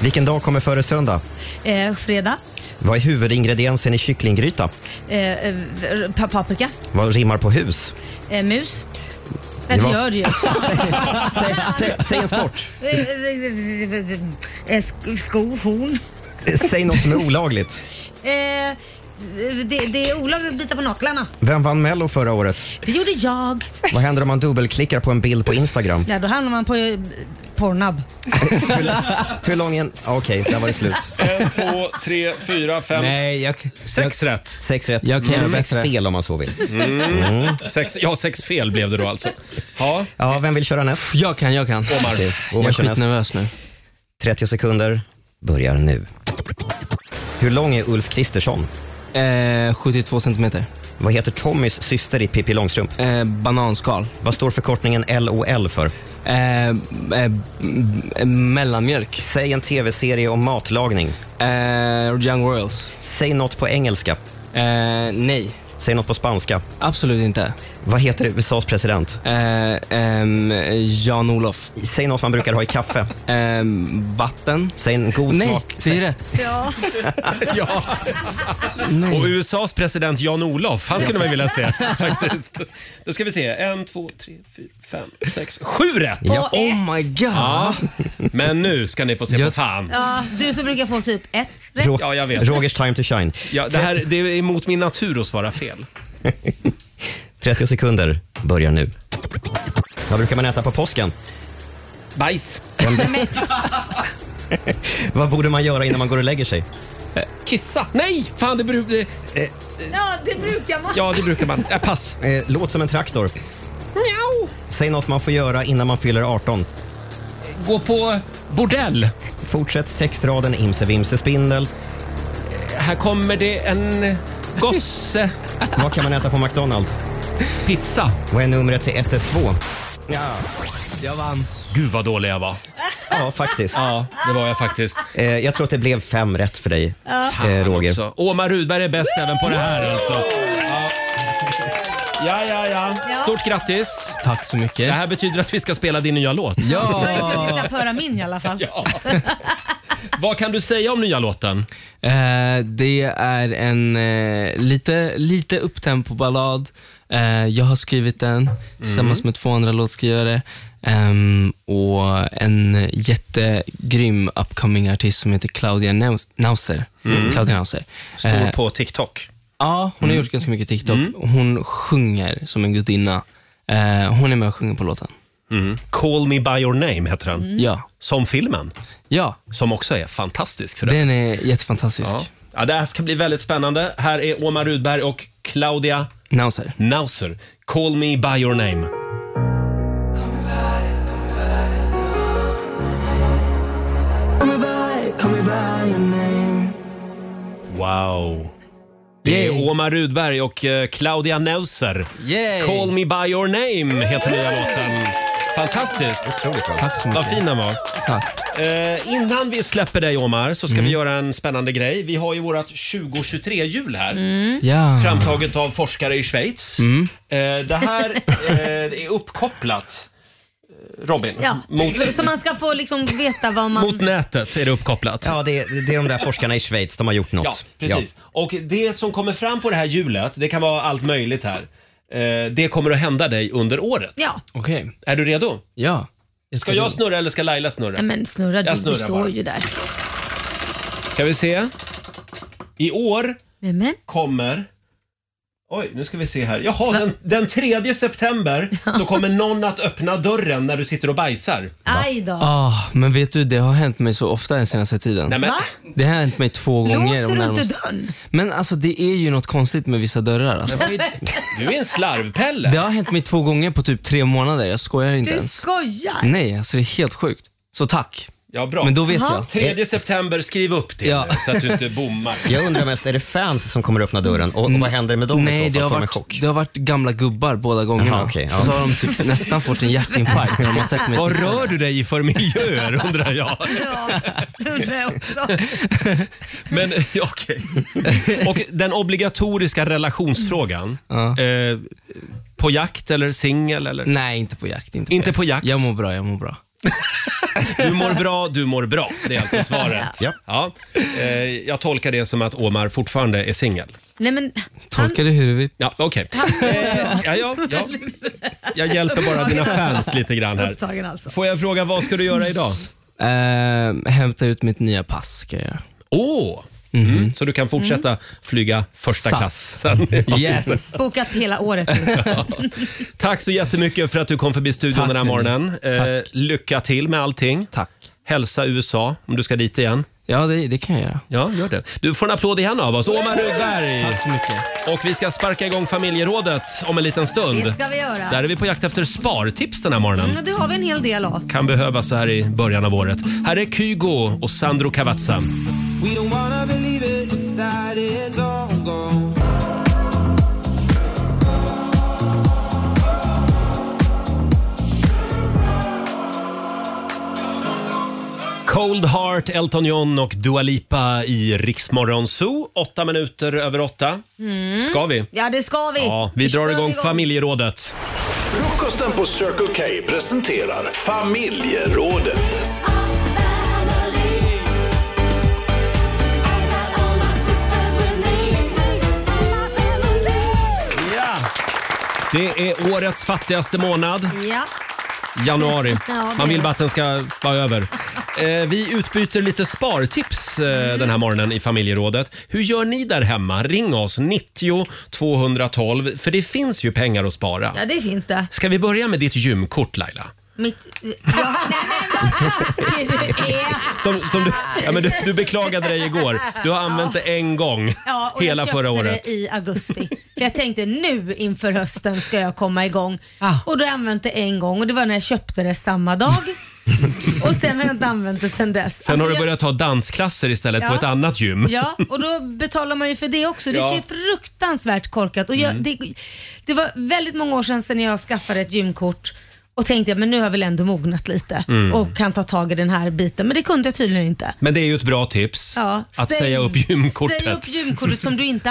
C: Vilken dag kommer före söndag?
B: Eh, fredag,
C: Vad är huvudingrediensen i kycklinggryta?
M: Eh, eh, pa- paprika,
C: Vad rimmar på hus?
M: eh, mus. Nej, det
C: var-
M: gör det ju.
C: Säg, säg, säg en sport.
M: Eh, eh, eh, sk- Sko, horn.
C: Säg något som är olagligt.
M: Eh, det, det är olagligt att bita på naglarna.
C: Vem vann Mello förra året?
M: Det gjorde jag.
C: Vad händer om man dubbelklickar på en bild på Instagram?
M: Ja, då hamnar man på eh, Pornhub.
C: Hur lång är en... ah, Okej, där var det slut.
A: En, två, tre, fyra, fem...
K: Nej, jag,
A: sex rätt.
C: Sex rätt.
A: Jag kan göra
C: Eller sex
A: bättre.
C: fel om man så vill.
A: Mm.
C: Mm.
A: Sex, ja, sex fel blev det då alltså. Ja.
C: ja, vem vill köra näst?
K: Jag kan, jag kan.
A: Omar.
C: Okej,
K: Jag är
C: kör näst.
K: skitnervös nu.
C: 30 sekunder börjar nu. Hur lång är Ulf Kristersson?
K: 72 Eh, centimeter. Eh,
C: Vad heter Tommys syster i Pippi Långstrump?
K: bananskal. Eh,
C: Vad står förkortningen LOL för?
K: mellanmjölk. Eh,
C: Säg en tv-serie om matlagning.
K: Young Royals.
C: Säg något på engelska.
K: Eh, nej.
C: Säg något på spanska.
K: Absolut inte. Eh, ehm,
C: Vad heter USAs president?
K: Jan-Olof. Ehm,
C: Säg något man brukar ha i kaffe.
K: vatten.
C: Säg en god
K: Nej,
C: smak.
K: det är rätt.
M: Ja.
A: ja. Och USAs president Jan-Olof, han skulle man vilja se. Faktiskt. Då ska vi se. En, två, tre, fyra, fem, sex, sju rätt!
K: Ja. Och Oh my god!
A: Ja. Men nu ska ni få se på fan.
M: Ja, du som brukar få typ ett rätt.
A: Ja, jag vet.
C: Rogers time to shine.
A: Ja, det, här, det är emot min natur att svara fel.
C: 30 sekunder börjar nu. Vad brukar man äta på påsken?
A: Bajs.
C: Vad borde man göra innan man går och lägger sig?
A: Kissa. Nej! Fan, det brukar...
M: Ja, det brukar man.
A: Ja, det brukar man. Äh, pass.
C: Eh, låt som en traktor. Säg något man får göra innan man fyller 18.
A: Gå på bordell.
C: Fortsätt textraden Imse Vimse Spindel.
A: Här kommer det en gosse.
C: Vad kan man äta på McDonalds?
A: Pizza.
C: Vad är numret till 112? Ja.
K: Jag vann.
A: Gud vad dålig jag var.
C: Ja, faktiskt.
A: Ja, det var jag faktiskt.
C: Eh, jag tror att det blev fem rätt för dig, eh, Roger.
A: Så, Omar Rudberg är bäst även på det här alltså. Ja. Ja, ja, ja. Stort grattis.
K: Tack så mycket.
A: Det här betyder att vi ska spela din nya låt.
M: Ja. Jag har ju slapp höra min i alla fall.
A: Vad kan du säga om nya låten?
K: Eh, det är en eh, lite, lite upptempo-ballad. Eh, jag har skrivit den
A: Mm.
K: tillsammans med två andra låtskrivare. Ehm, och en jättegrym upcoming artist som heter Claudia Naus- Nauser.
A: Mm.
K: Claudia Nauser.
A: Stor
K: Eh,
A: på TikTok.
K: Ja, hon har gjort ganska mycket TikTok. Hon sjunger som en gudinna. Eh, hon är med och sjunger på låten.
A: Mm. Call me by your name heter den.
K: Ja.
A: Som filmen.
K: Ja.
A: Som också är fantastisk för
K: Den är jättefantastisk.
A: Ja. ja, det här ska bli väldigt spännande. Här är Omar Rudberg och Claudia
K: Nauser.
A: Nauser. Call me by your name.
E: Call me by, call me by your name.
A: Wow. Det är Omar Rudberg och eh, Claudia Neuser.
K: Yay.
A: Call me by your name heter nya låten. Fantastiskt.
C: Otroligt bra.
K: Tack så mycket.
A: Vad fin den var.
K: Tack.
A: Eh, innan vi släpper dig Omar så ska vi göra en spännande grej. Vi har ju vårat 2023-hjul här.
K: Ja.
A: Framtaget av forskare i Schweiz.
K: Mm.
A: Eh, det här eh, är uppkopplat, eh, Robin,
M: Ja.
A: mot,
M: Så man ska få liksom veta vad man...
A: mot nätet. är det uppkopplat.
C: Ja, det, det är de där forskarna i Schweiz. De har gjort något.
A: Ja, precis. Och det som kommer fram på det här hjulet, det kan vara allt möjligt här. Eh, det kommer att hända dig under året.
M: Ja.
K: Okej.
A: Är du redo?
K: Ja.
A: Ska jag snurra eller ska Laila snurra?
M: Nej, men snurra du,
A: Jag
M: du
A: snurrar
M: står
A: bara.
M: ju där.
A: Ska vi se. I år
M: Nej, men.
A: kommer... Oj, nu ska vi se här. Jaha, den, den 3 september så kommer någon att öppna dörren när du sitter och bajsar.
M: Aj då.
K: Ah, men vet du, det har hänt mig så ofta den senaste tiden.
A: Nej, men,
M: Va?
K: Det har hänt mig två gånger.
M: Låser
K: de
M: du inte
K: närmaste-
M: dörren?
K: Men alltså det är ju något konstigt med vissa dörrar. Alltså.
A: vad är, du är en slarvpelle.
K: Det har hänt mig två gånger på typ tre månader. Jag skojar inte
M: Du
K: ens.
M: skojar.
K: Nej, alltså det är helt sjukt. Så tack.
A: Ja, bra.
K: Men då vet
M: Jaha.
K: jag.
A: 3 september, skriv upp det
K: Ja.
A: nu, så att du inte bommar.
C: Jag undrar mest, är det fans som kommer öppna dörren och, och vad händer med dem
K: Nej,
C: i
K: det
C: så fall?
K: har,
C: Får de en
K: varit,
C: chock?
K: det har varit gamla gubbar båda gångerna.
C: Jaha, okej, ja.
K: Och så har de typ nästan fått en hjärtinfarkt när de har sett mig.
A: Vad rör du dig i för miljöer undrar jag.
M: Ja, det undrar jag också.
A: Men ja, okej. Och den obligatoriska relationsfrågan. Eh, på jakt eller singel eller?
K: Nej, inte på jakt. Inte på,
A: Inte på jakt.
K: Jag mår bra, jag mår bra.
A: Du mår bra, du mår bra. Det är alltså svaret.
C: Ja.
A: Ja. Eh, Jag tolkar det som att Omar fortfarande är singel.
B: Nej men,
A: Tolka det hur du vill. Ja, okej. Eh, Ja, ja, ja. Jag hjälper bara dina fans lite grann här.
B: Upptagen alltså.
A: Får jag fråga, vad ska du göra idag?
K: Eh, hämta ut mitt nya pass ska jag göra.
A: Åh! Mm, Så du kan fortsätta flyga första
K: SAS.
A: klass sen.
K: Yes.
B: bokat hela året nu.
A: Tack så jättemycket för att du kom förbi studion den här morgonen. Eh, lycka till med allting. Tack. Hälsa USA om du ska dit igen.
K: Ja, det, det kan jag göra.
A: Ja, gör det. Du får en applåd igen av oss. Omar Rudberg! Tack så mycket. Och vi ska sparka igång familjerådet om en liten stund.
B: Det ska vi göra.
A: Mm. Där är vi på jakt efter spartips den här morgonen.
B: Mm, det har vi en hel del av.
A: Kan behövas så här i början av året. Här är Kygo och Sandro Cavazza.
N: We don't wanna believe it, that it's all gone.
A: Cold Heart, Elton John och Dua Lipa i Riksmorgon Zoo. Åtta minuter över åtta.
B: Mm.
A: Ska vi?
B: Ja, det ska vi.
A: Ja, vi drar
B: kör
A: igång familjerådet.
H: Frukosten på Circle K presenterar Familjerådet.
A: Ja! Det är årets fattigaste månad,
B: Ja.
A: januari.
B: Ja, det är
A: Man vill
B: det.
A: bara att den ska vara över. Eh, Vi utbyter lite spartips eh,
B: Mm.
A: den här morgonen i familjerådet. Hur gör ni där hemma? Ring oss, 90 212, för det finns ju pengar att spara.
B: Ja, det finns det.
A: Ska vi börja med ditt gymkort Laila?
B: Mitt... Ja, nej men vad taskig du är.
A: Som, som du, ja, men du, du beklagade dig igår. Du har använt det en gång
B: Ja, och
A: hela
B: jag köpte
A: förra året.
B: det i augusti. För jag tänkte nu inför hösten ska jag komma igång. Och då har jag använt det en gång och det var när jag köpte det samma dag. och sen har jag inte använt det sen dess.
A: Sen
B: Alltså,
A: har du
B: jag-
A: börjat ta dansklasser istället på
B: Ja.
A: ett annat gym.
B: Ja, och då betalar man ju för det också. Det
A: Ja.
B: är ju fruktansvärt korkat. Och jag,
A: Mm.
B: det, det var väldigt många år sedan, sedan jag skaffade ett gymkort och tänkte men nu har jag väl ändå mognat lite
A: Mm.
B: och kan ta tag i den här biten. Men det kunde jag tydligen inte.
A: Men det är ju ett bra tips.
B: Ja,
A: Att
B: säg-
A: säga upp gymkortet.
B: Säg upp gymkortet som du inte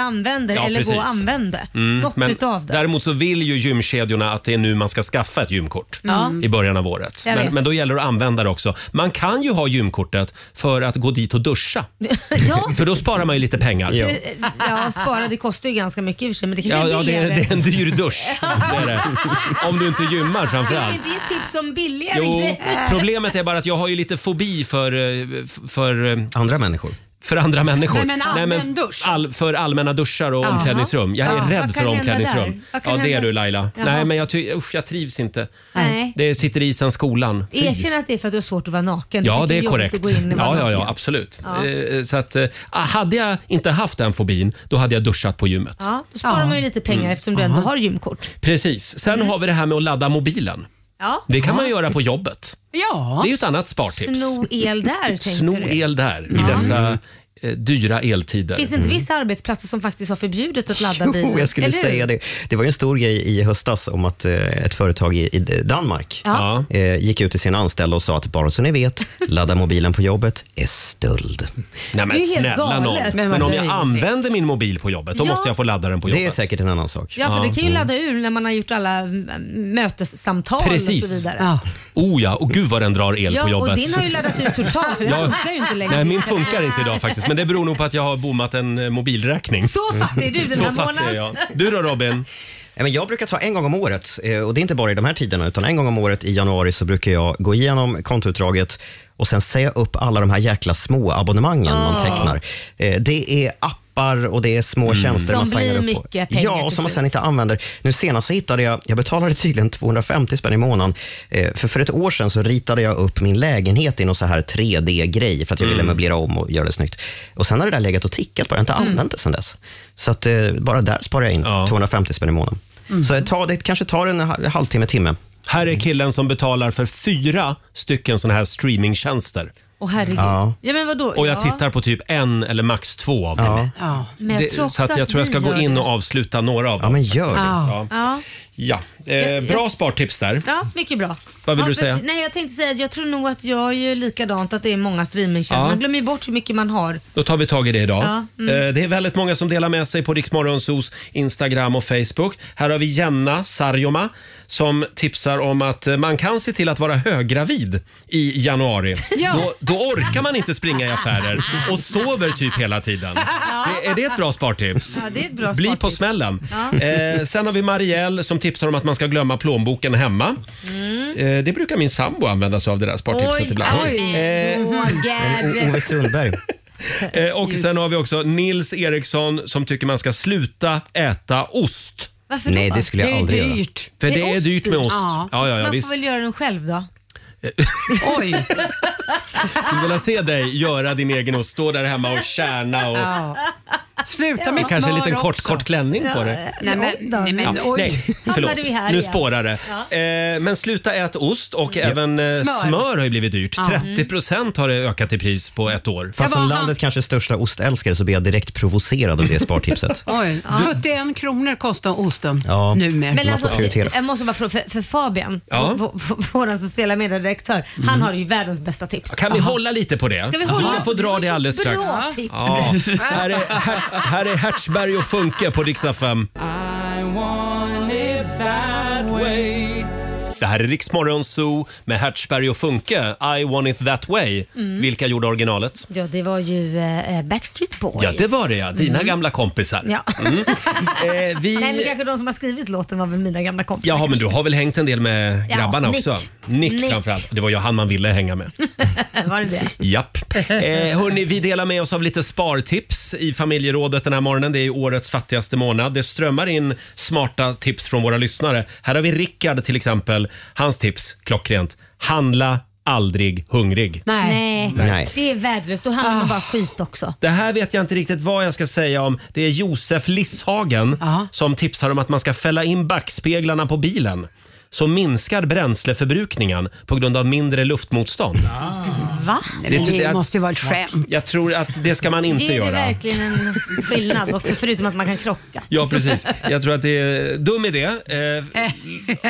B: använder
A: Ja,
B: eller gå och
A: precis.
B: använda.
A: Mm,
B: Något
A: men
B: utav det.
A: Däremot så vill ju gymkedjorna att det är nu man ska skaffa ett gymkort
B: Ja.
G: Mm.
A: i början av året.
B: Jag vet.
A: Men, men då gäller det att använda det också. Man kan ju ha gymkortet för att gå dit och duscha.
B: ja.
A: För då sparar man ju lite pengar.
B: Ja. ja, spara det kostar ju ganska mycket i och för sig men det kan
A: Ja,
B: ju
A: ja,
B: vara
A: det, är,
B: billigare.
A: det är en dyr dusch. Det är det. Om du inte gymmar
B: Ska vi
A: framförallt.
B: inte ge tips om billigare
A: Jo,
B: grejer?
A: problemet är bara att jag har ju lite fobi för... eh, f- för eh, andra människor? För andra människor.
G: Nej, men allmän
A: f-
G: dusch.
A: all, för allmänna duschar och
G: Jaha.
A: omklädningsrum. Jag är
G: Ja.
A: rädd
G: Vad
A: för
G: kan hända
A: omklädningsrum.
G: där? Vad kan
A: Ja, det är
G: hända?
A: du Laila.
B: Jaha.
A: Nej, men jag, ty- usch, jag trivs inte.
B: Nej.
A: Det sitter i sen skolan. Fy.
B: Erkänn att det är för att du har svårt att vara naken.
A: Ja,
B: Du
A: det är
B: tycker är jobbigt
A: korrekt.
B: att gå in och vara
A: Ja, ja,
B: naken.
A: ja, absolut.
B: Ja.
A: Eh, Så att, eh, hade jag inte haft den fobin, då hade jag duschat på gymmet.
B: Ja, då sparar man ju lite pengar
A: Mm.
B: eftersom du ändå har gymkort.
A: Precis. Sen har vi det här med att ladda mobilen.
B: Mm. Ja.
A: Det kan man göra på jobbet.
B: Ja.
A: Det är ju ett annat spartips.
B: Sno el där tänkte
A: Sno
B: du.
A: el där i dessa eh, dyra eltider.
B: Finns det inte vissa arbetsplatser som faktiskt har förbjudet att ladda bilen?
C: Jo, jag skulle
B: Eller hur?
C: säga det. Det var ju en stor grej i höstas om att eh, ett företag i, i Danmark
B: Ja.
C: eh, gick ut till sina anställda och sa att bara så ni vet, ladda mobilen på jobbet är stöld.
A: Nej men snälla nån. Men, om jag använder min mobil på jobbet, då
B: Ja.
A: måste jag få ladda den på
C: Det är
A: jobbet.
C: säkert en annan sak.
B: Ja, för det kan ju ladda ur när man har gjort alla mm, mötessamtal och så
A: Precis.
B: vidare.
A: Oh ja, och gud vad den drar el
B: Ja,
A: på
B: och
A: jobbet.
B: din har ju laddat ut totalt för den
A: Ja.
B: funkar ju inte längre.
A: Nej, min funkar inte idag faktiskt, men det beror nog på att jag har bommat en eh, mobilräkning.
B: Så fattig är du den
A: Så
B: här
A: fattig är
B: månaden.
A: jag. Du då Robin?
C: Nej, men Jag brukar ta en gång om året eh, och det är inte bara i de här tiderna utan en gång om året i januari så brukar jag gå igenom kontoutdraget och sen säga upp alla de här jäkla små abonnemangen man
B: Ah.
C: tecknar. Eh, Det är appar och det är små tjänster
B: Mm. Som
C: man signar
B: blir
C: upp på.
B: mycket pengar
C: Ja, och
B: till
C: som man
B: slut.
C: sen inte använder. Nu senast så hittade jag, jag betalade tydligen 250 spänn i månaden, eh, för för ett år sedan så ritade jag upp min lägenhet i någon så här 3D-grej för att jag
B: Mm.
C: ville möblera om och göra det snyggt. Och sen har det där legat och tickat bara, jag har inte använt det sen dess. Så att eh, bara där sparar jag in 250 spänn i månaden.
B: Mm.
C: Så ta, det kanske tar en ha- halvtimme, timme.
A: Här är killen som betalar för fyra stycken såna här streamingtjänster.
B: Åh herregud. Ja.
A: Ja.
B: men vadå?
A: Och jag
B: ja.
A: tittar på typ en eller max två av dem.
B: Ja. Men jag tror
A: Det,
B: också
A: så att jag
B: att
A: tror jag
B: vi
A: ska gå
B: gör
A: in
B: det. Ah.
A: och avsluta några av dem. Ja, men
C: gör
B: Ja.
A: Ja.
B: Ja.
A: Ja, eh, bra spartips där.
B: Ja, mycket bra.
A: Vad vill
B: ja,
A: du säga?
B: men- Nej, jag tänkte säga att jag tror nog att jag är likadant, att det är många streamingtjänster.
A: Ja.
B: Man glömmer ju bort hur mycket man har.
A: Då tar vi tag i det idag.
B: Ja, mm.
A: Eh, Det är väldigt många som delar med sig på Riksmorgonsos Instagram och Facebook. Här har vi Jenna Sarjoma som tipsar om att eh, man kan se till att vara höggravid i januari.
E: Ja.
A: Då, då orkar man inte springa i affärer och sover typ hela tiden. Det, är det ett bra spartips?
B: Ja, det är ett bra
A: Bli på
B: spartips.
A: smällen.
B: Ja.
A: Eh, sen har vi Marielle som tipsar om att man ska glömma plånboken hemma.
B: Mm.
A: Eh, det brukar min sambo använda sig av det där spartipset ibland. Eh,
C: Ove Sundberg.
A: Eh, Och sen har vi också Nils Eriksson som tycker man ska sluta äta ost.
B: Varför Nej, då? det skulle jag Det är aldrig göra. dyrt.
A: För det,
B: Det är
A: är
B: ost
A: dyrt med
B: dyrt.
A: ost.
B: Ja.
A: Ja, ja, ja,
B: man
A: visst.
B: får väl göra den själv då.
G: Oj!
A: Skulle vilja se dig göra din egen ost. Stå där hemma och kärna och...
G: Ja. Sluta
A: Och
G: med
A: kanske en
G: smör
A: liten kort,
G: också.
A: kort klänning på dig.
G: Nej men, nej, men
A: Ja,
G: oj.
A: nej, förlåt. Nu spårar det. Eh, men sluta äta ost och även eh,
G: Smör.
A: smör. har ju blivit dyrt.
G: Ja.
B: Mm.
A: 30 procent har det ökat i pris på ett år.
C: Fast som landets kanske största ostälskare så blir jag direkt provocerad av det spartipset.
G: Oj, 71 kronor kostar osten
C: Ja.
G: numera.
C: Man får prioritera.
B: alltså, jag måste bara fråga, för, för Fabian,
A: Ja. Mm.
B: vår, vår, vår alltså sociala mediedirektör, han har ju världens bästa tips.
A: Kan vi
B: Aha.
A: hålla lite på det?
B: Ska vi hålla?
A: ska få dra det alldeles
B: Bra
A: strax.
B: tips.
A: Ja. Här, är, här, här är Hertzberg och Funke på Dixta 5. Det här är Riksmorgon Zoo med Hertzberg och Funke, I want it that way.
B: Mm.
A: Vilka gjorde originalet?
B: Ja, det var ju eh, Backstreet Boys.
A: Ja, det var det ja. Dina
B: Mm.
A: gamla kompisar.
B: Ja.
A: Mm. Eh, vi...
B: Nej, men kanske de som har skrivit låten var väl mina gamla kompisar.
A: Jaha, men du har väl hängt en del med
B: Ja,
A: grabbarna
B: Nick.
A: också? Nick,
B: Nick.
A: framförallt. Det var ju han man ville hänga med.
B: var det det?
A: Japp. Eh, hörni, vi delar med oss av lite spartips i familjerådet den här morgonen. Det är ju årets fattigaste månad. Det strömmar in smarta tips från våra lyssnare. Här har vi Rickard till exempel. Hans tips, klockrent. Handla aldrig hungrig.
B: Nej. Ah.
A: Nej.
B: det är värdelöst. Då handlar det bara skit också.
A: Det här vet jag inte riktigt vad jag ska säga om. Det är Josef Lisshagen som tipsar om att man ska fälla in backspeglarna på bilen. Så minskar bränsleförbrukningen på grund av mindre luftmotstånd.
B: Va?
A: Det-
G: det,
A: det-
G: måste ju vara ett skämt.
A: Jag tror att det ska man inte
B: det är det
A: göra.
B: verkligen en skillnad också, förutom att man kan krocka.
A: Ja, precis. Jag tror att det är dum idé. Eh,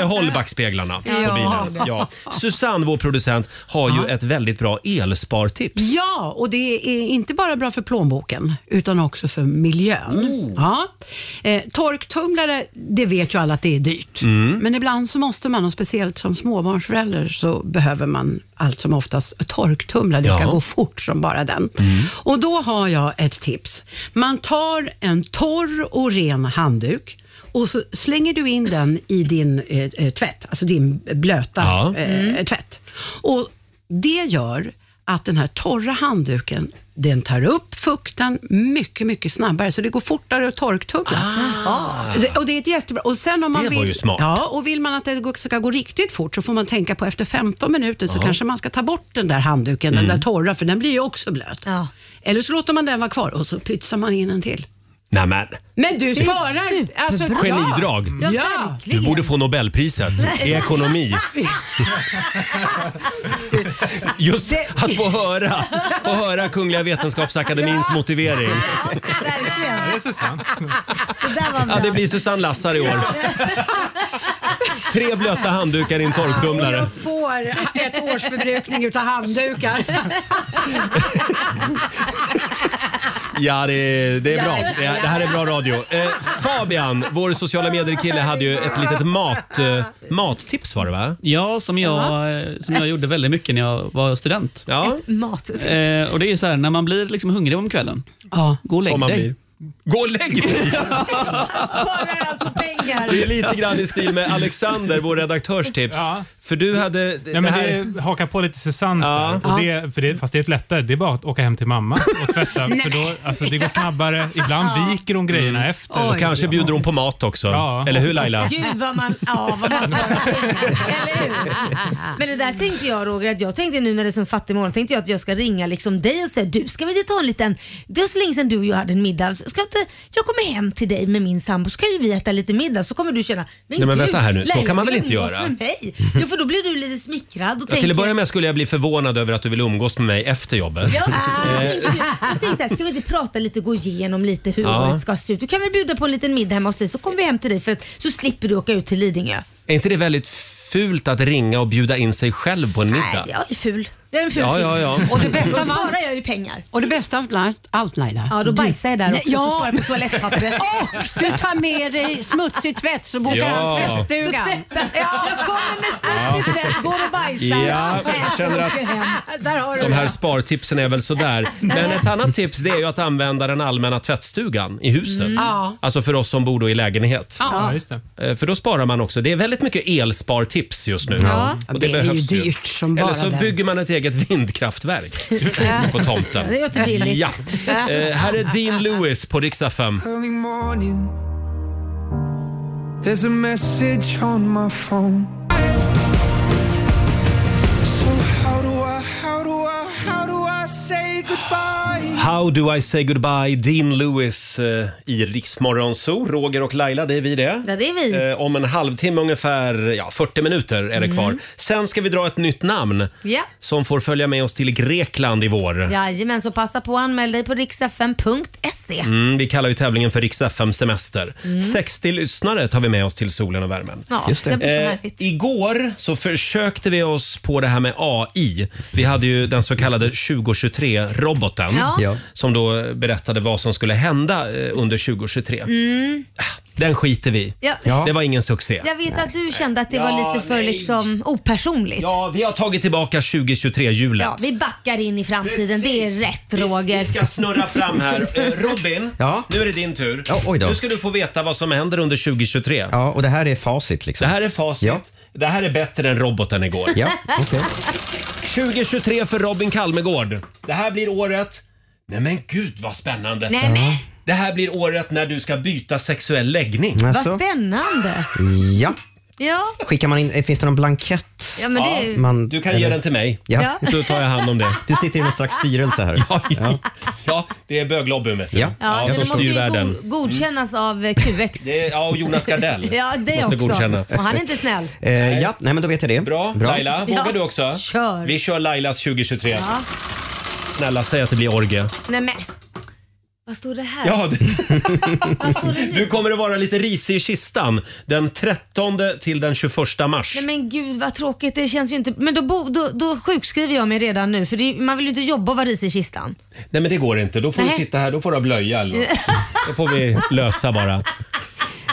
A: Behåll backspeglarna
G: Ja.
A: på bilen. Ja. Susanne, vår producent, har ju ett väldigt bra elspartips.
G: Ja, och det är inte bara bra för plånboken, utan också för miljön.
E: Oh.
G: Ja. Eh, torktumlare, det vet ju alla att det är dyrt.
E: Mm.
G: Men ibland så måste man, och speciellt som småbarnsförälder, så behöver man allt som oftast torktumlare. Det ska
E: Ja. Mm.
G: gå fort som bara den. Och då har jag ett tips. Man tar en torr och ren handduk och så slänger du in den i din eh, eh, tvätt, alltså din blöta
E: Ja.
G: eh,
E: Mm.
G: tvätt. Och det gör att den här torra handduken den tar upp fukten mycket, mycket snabbare, så det går fortare att torktumla. Så- Och det är ett jättebra... Och sen om man
E: Ah. Det var
G: vill,
E: ju smart.
G: Ja, och vill man att det gå- ska gå riktigt fort så får man tänka på efter 15 minuter så
E: Ja.
G: kanske man ska ta bort den där handduken,
E: Mm.
G: den där torra, för den blir ju också blöt. Eller så låter man den vara kvar och så pytsar man in en till.
A: Nämen,
G: Men du
E: Det är
G: sparar... Alltså, ja.
A: genidrag.
G: Ja,
A: Du
G: verkligen.
A: borde få Nobelpriset i ekonomi. Just att få höra, få höra Kungliga Vetenskapsakademins motivering.
B: Verkligen.
A: Det är Susanne.
B: Det där var bra.
A: Ja, det blir Susanne Lassar i år. Tre blöta handdukar i en torktumlare.
G: Jag får ett års förbrukning utav handdukar.
A: Ja, det, det är bra. Det, det här är bra radio. Eh, Fabian, vår sociala medier-kille, hade ju ett litet mat, eh, mattips var det va?
H: Ja, som jag, eh, som jag gjorde väldigt mycket när jag var student.
A: Ja.
B: Mat.
H: Eh, och det är så här, när man blir liksom hungrig om kvällen,
G: ja.
H: gå och lägg
A: Som man
H: dig.
A: blir. Gå och lägg dig!
B: Sparar alltså pengar.
A: Det är lite grann i stil med Alexander, vår redaktörstips.
O: Ja.
A: För du hade...
O: Nej, men det hakar på lite Susannes där. Och det, för det, fast det är ett lättare. Det är bara att åka hem till mamma och tvätta. för då, alltså, det går snabbare. Ibland viker hon grejerna efter.
A: Och Mm. kanske bjuder hon på mat också.
O: Ja.
A: Eller hur Laila?
B: Gud vad man, ja, vad man sparar pengar. Eller hur? Men det där tänkte jag Roger, att jag tänkte nu när det är som fattig morgon, tänkte jag att jag ska ringa liksom dig och säga du ska vi ta en liten, det var så länge sedan du och jag hade en middag, ska inte, jag kommer hem till dig med min sambo så kan ju vi äta lite middag så kommer du känna,
A: Nej, men vänta här nu, så
B: Laila
A: kan man väl
B: vill
A: inte
B: umgås
A: göra?
B: Med mig. Jo för för då blir du lite smickrad och
A: Ja, till
B: tänker...
A: att börja med skulle jag bli förvånad över att du vill umgås med mig efter jobbet.
B: Ja,
A: Eh,
B: jag tänkte- jag tänkte såhär, ska vi inte prata lite gå igenom lite hur
A: Ja.
B: året ska se ut? Du kan väl bjuda på en liten middag hemma hos dig så kommer vi hem till dig för att, så slipper du åka ut till Lidingö.
A: Är inte det väldigt fult att ringa och bjuda in sig själv på en middag?
B: Nej, jag är ful. Jag är en ful
A: Ja, ja, ja.
G: Och det bästa
B: då
G: av allt-
B: sparar jag ju pengar.
G: Och det bästa av allt- allt Laila.
B: Ja, då
G: du-
B: bajsar jag där
G: Nej,
B: också så sparar jag på toalettpappret.
G: Och du tar med dig smutsig tvätt så bokar
A: Ja.
G: han tvättstugan.
B: Så tvättar- Jag kommer med
A: Ja.
B: smutsig tvätt, går och bajsar.
A: Ja, jag känner att
B: Åker hem. Där har du
A: De här
B: det.
A: spartipsen är väl sådär. Men ett annat tips det är ju att använda den allmänna tvättstugan i huset.
B: Mm. Ja.
A: Alltså för oss som bor då i lägenhet.
G: Ja,
P: just det.
A: Eh, För då sparar man också. Det är väldigt mycket elspartips just nu.
G: Ja.
A: Och
G: Det är ju
A: behövs
G: dyrt som
A: Eller
G: bara
A: så
G: den.
A: bygger man ett eget vindkraftverk på tomten.
Q: Ja, det låter billigt.
A: Ja. Eh, Här är Dean Lewis på riksdag 5.
Q: Early morning There's a message on my phone So how do I, how do I, how do I say goodbye?
A: How do I say goodbye, Dean Lewis eh, i Riksmorgon Zoo. Roger och Laila, det är vi det.
B: Ja, det är vi.
A: Eh, om en halvtimme ungefär, ja 40 minuter är det
B: Mm.
A: kvar. Sen ska vi dra ett nytt namn
B: Ja.
A: som får följa med oss till Grekland i vår.
B: Jajamän, så passa på att anmäla dig på riksfm.se.
A: Mm, vi kallar ju tävlingen för Rix FM Semester.
B: Mm.
A: 60 lyssnare tar vi med oss till solen och värmen.
B: Ja, Just det. det blir så
A: Eh,
B: härligt.
A: igår så försökte vi oss på det här med AI. Vi hade ju den så kallade 2023-roboten
B: Ja. Ja.
A: som då berättade vad som skulle hända eh, under 2023.
B: Mm.
A: Den skiter vi i.
B: Ja.
A: Det var ingen succé.
B: Jag vet att du kände att det
A: Ja,
B: var lite för
A: nej.
B: liksom opersonligt.
A: Ja, vi har tagit tillbaka 2023-hjulet.
B: Ja, vi backar in i framtiden.
A: Precis.
B: Det är rätt Roger.
A: Vi ska snurra fram här. Eh, Robin,
C: Ja.
A: nu är det din tur.
C: oj då.
A: Nu ska du få veta vad som händer under 2023.
C: Ja, och det här är facit liksom.
A: Det här är facit.
C: Ja.
A: Det här är bättre än roboten igår.
C: Ja,
A: 2023 för Robin Kalmegård. Det här blir året... Nej men gud vad spännande!
B: Nej, men.
A: Det här blir året när du ska byta sexuell läggning.
C: Mm.
B: Vad spännande.
C: Ja.
B: Ja,
C: Skickar man in, eh, finns det någon blankett?
B: ja men det är ju...
C: Man,
A: Du kan ge den till mig.
C: Ja.
A: Så tar jag hand om det.
C: Du sitter i någon slags styrelse här.
A: Ja, ja. ja det är böglobben vet du.
C: Ja.
B: Ja, så
A: som
B: det måste
A: styr
B: ju
A: världen.
B: go- godkännas av eh, QX.
A: Det är- ja, och Jonas Gardell
B: ja, det
A: måste
B: också.
A: godkänna.
B: Och han är inte snäll.
C: Eh, ja, nej men då vet jag det.
A: Bra. Laila, vågar
B: Ja.
A: du också?
B: Kör.
A: Vi kör Lailas 2023.
B: Ja.
A: Snälla, säg att det blir orgie.
B: Nej men. Vad står det här?
A: Ja, du,
B: Vad står det nu?
A: du kommer att vara lite risig i kistan den 13 till den 21 mars.
B: Nej men gud vad tråkigt. Det känns ju inte... Men då, bo, då, då sjukskriver jag mig redan nu för det, är- man vill ju inte jobba och vara ris i kistan.
A: Nej men det går inte. Då får
B: Nej.
A: du sitta här, då får du ha blöja eller något. Det får vi lösa bara.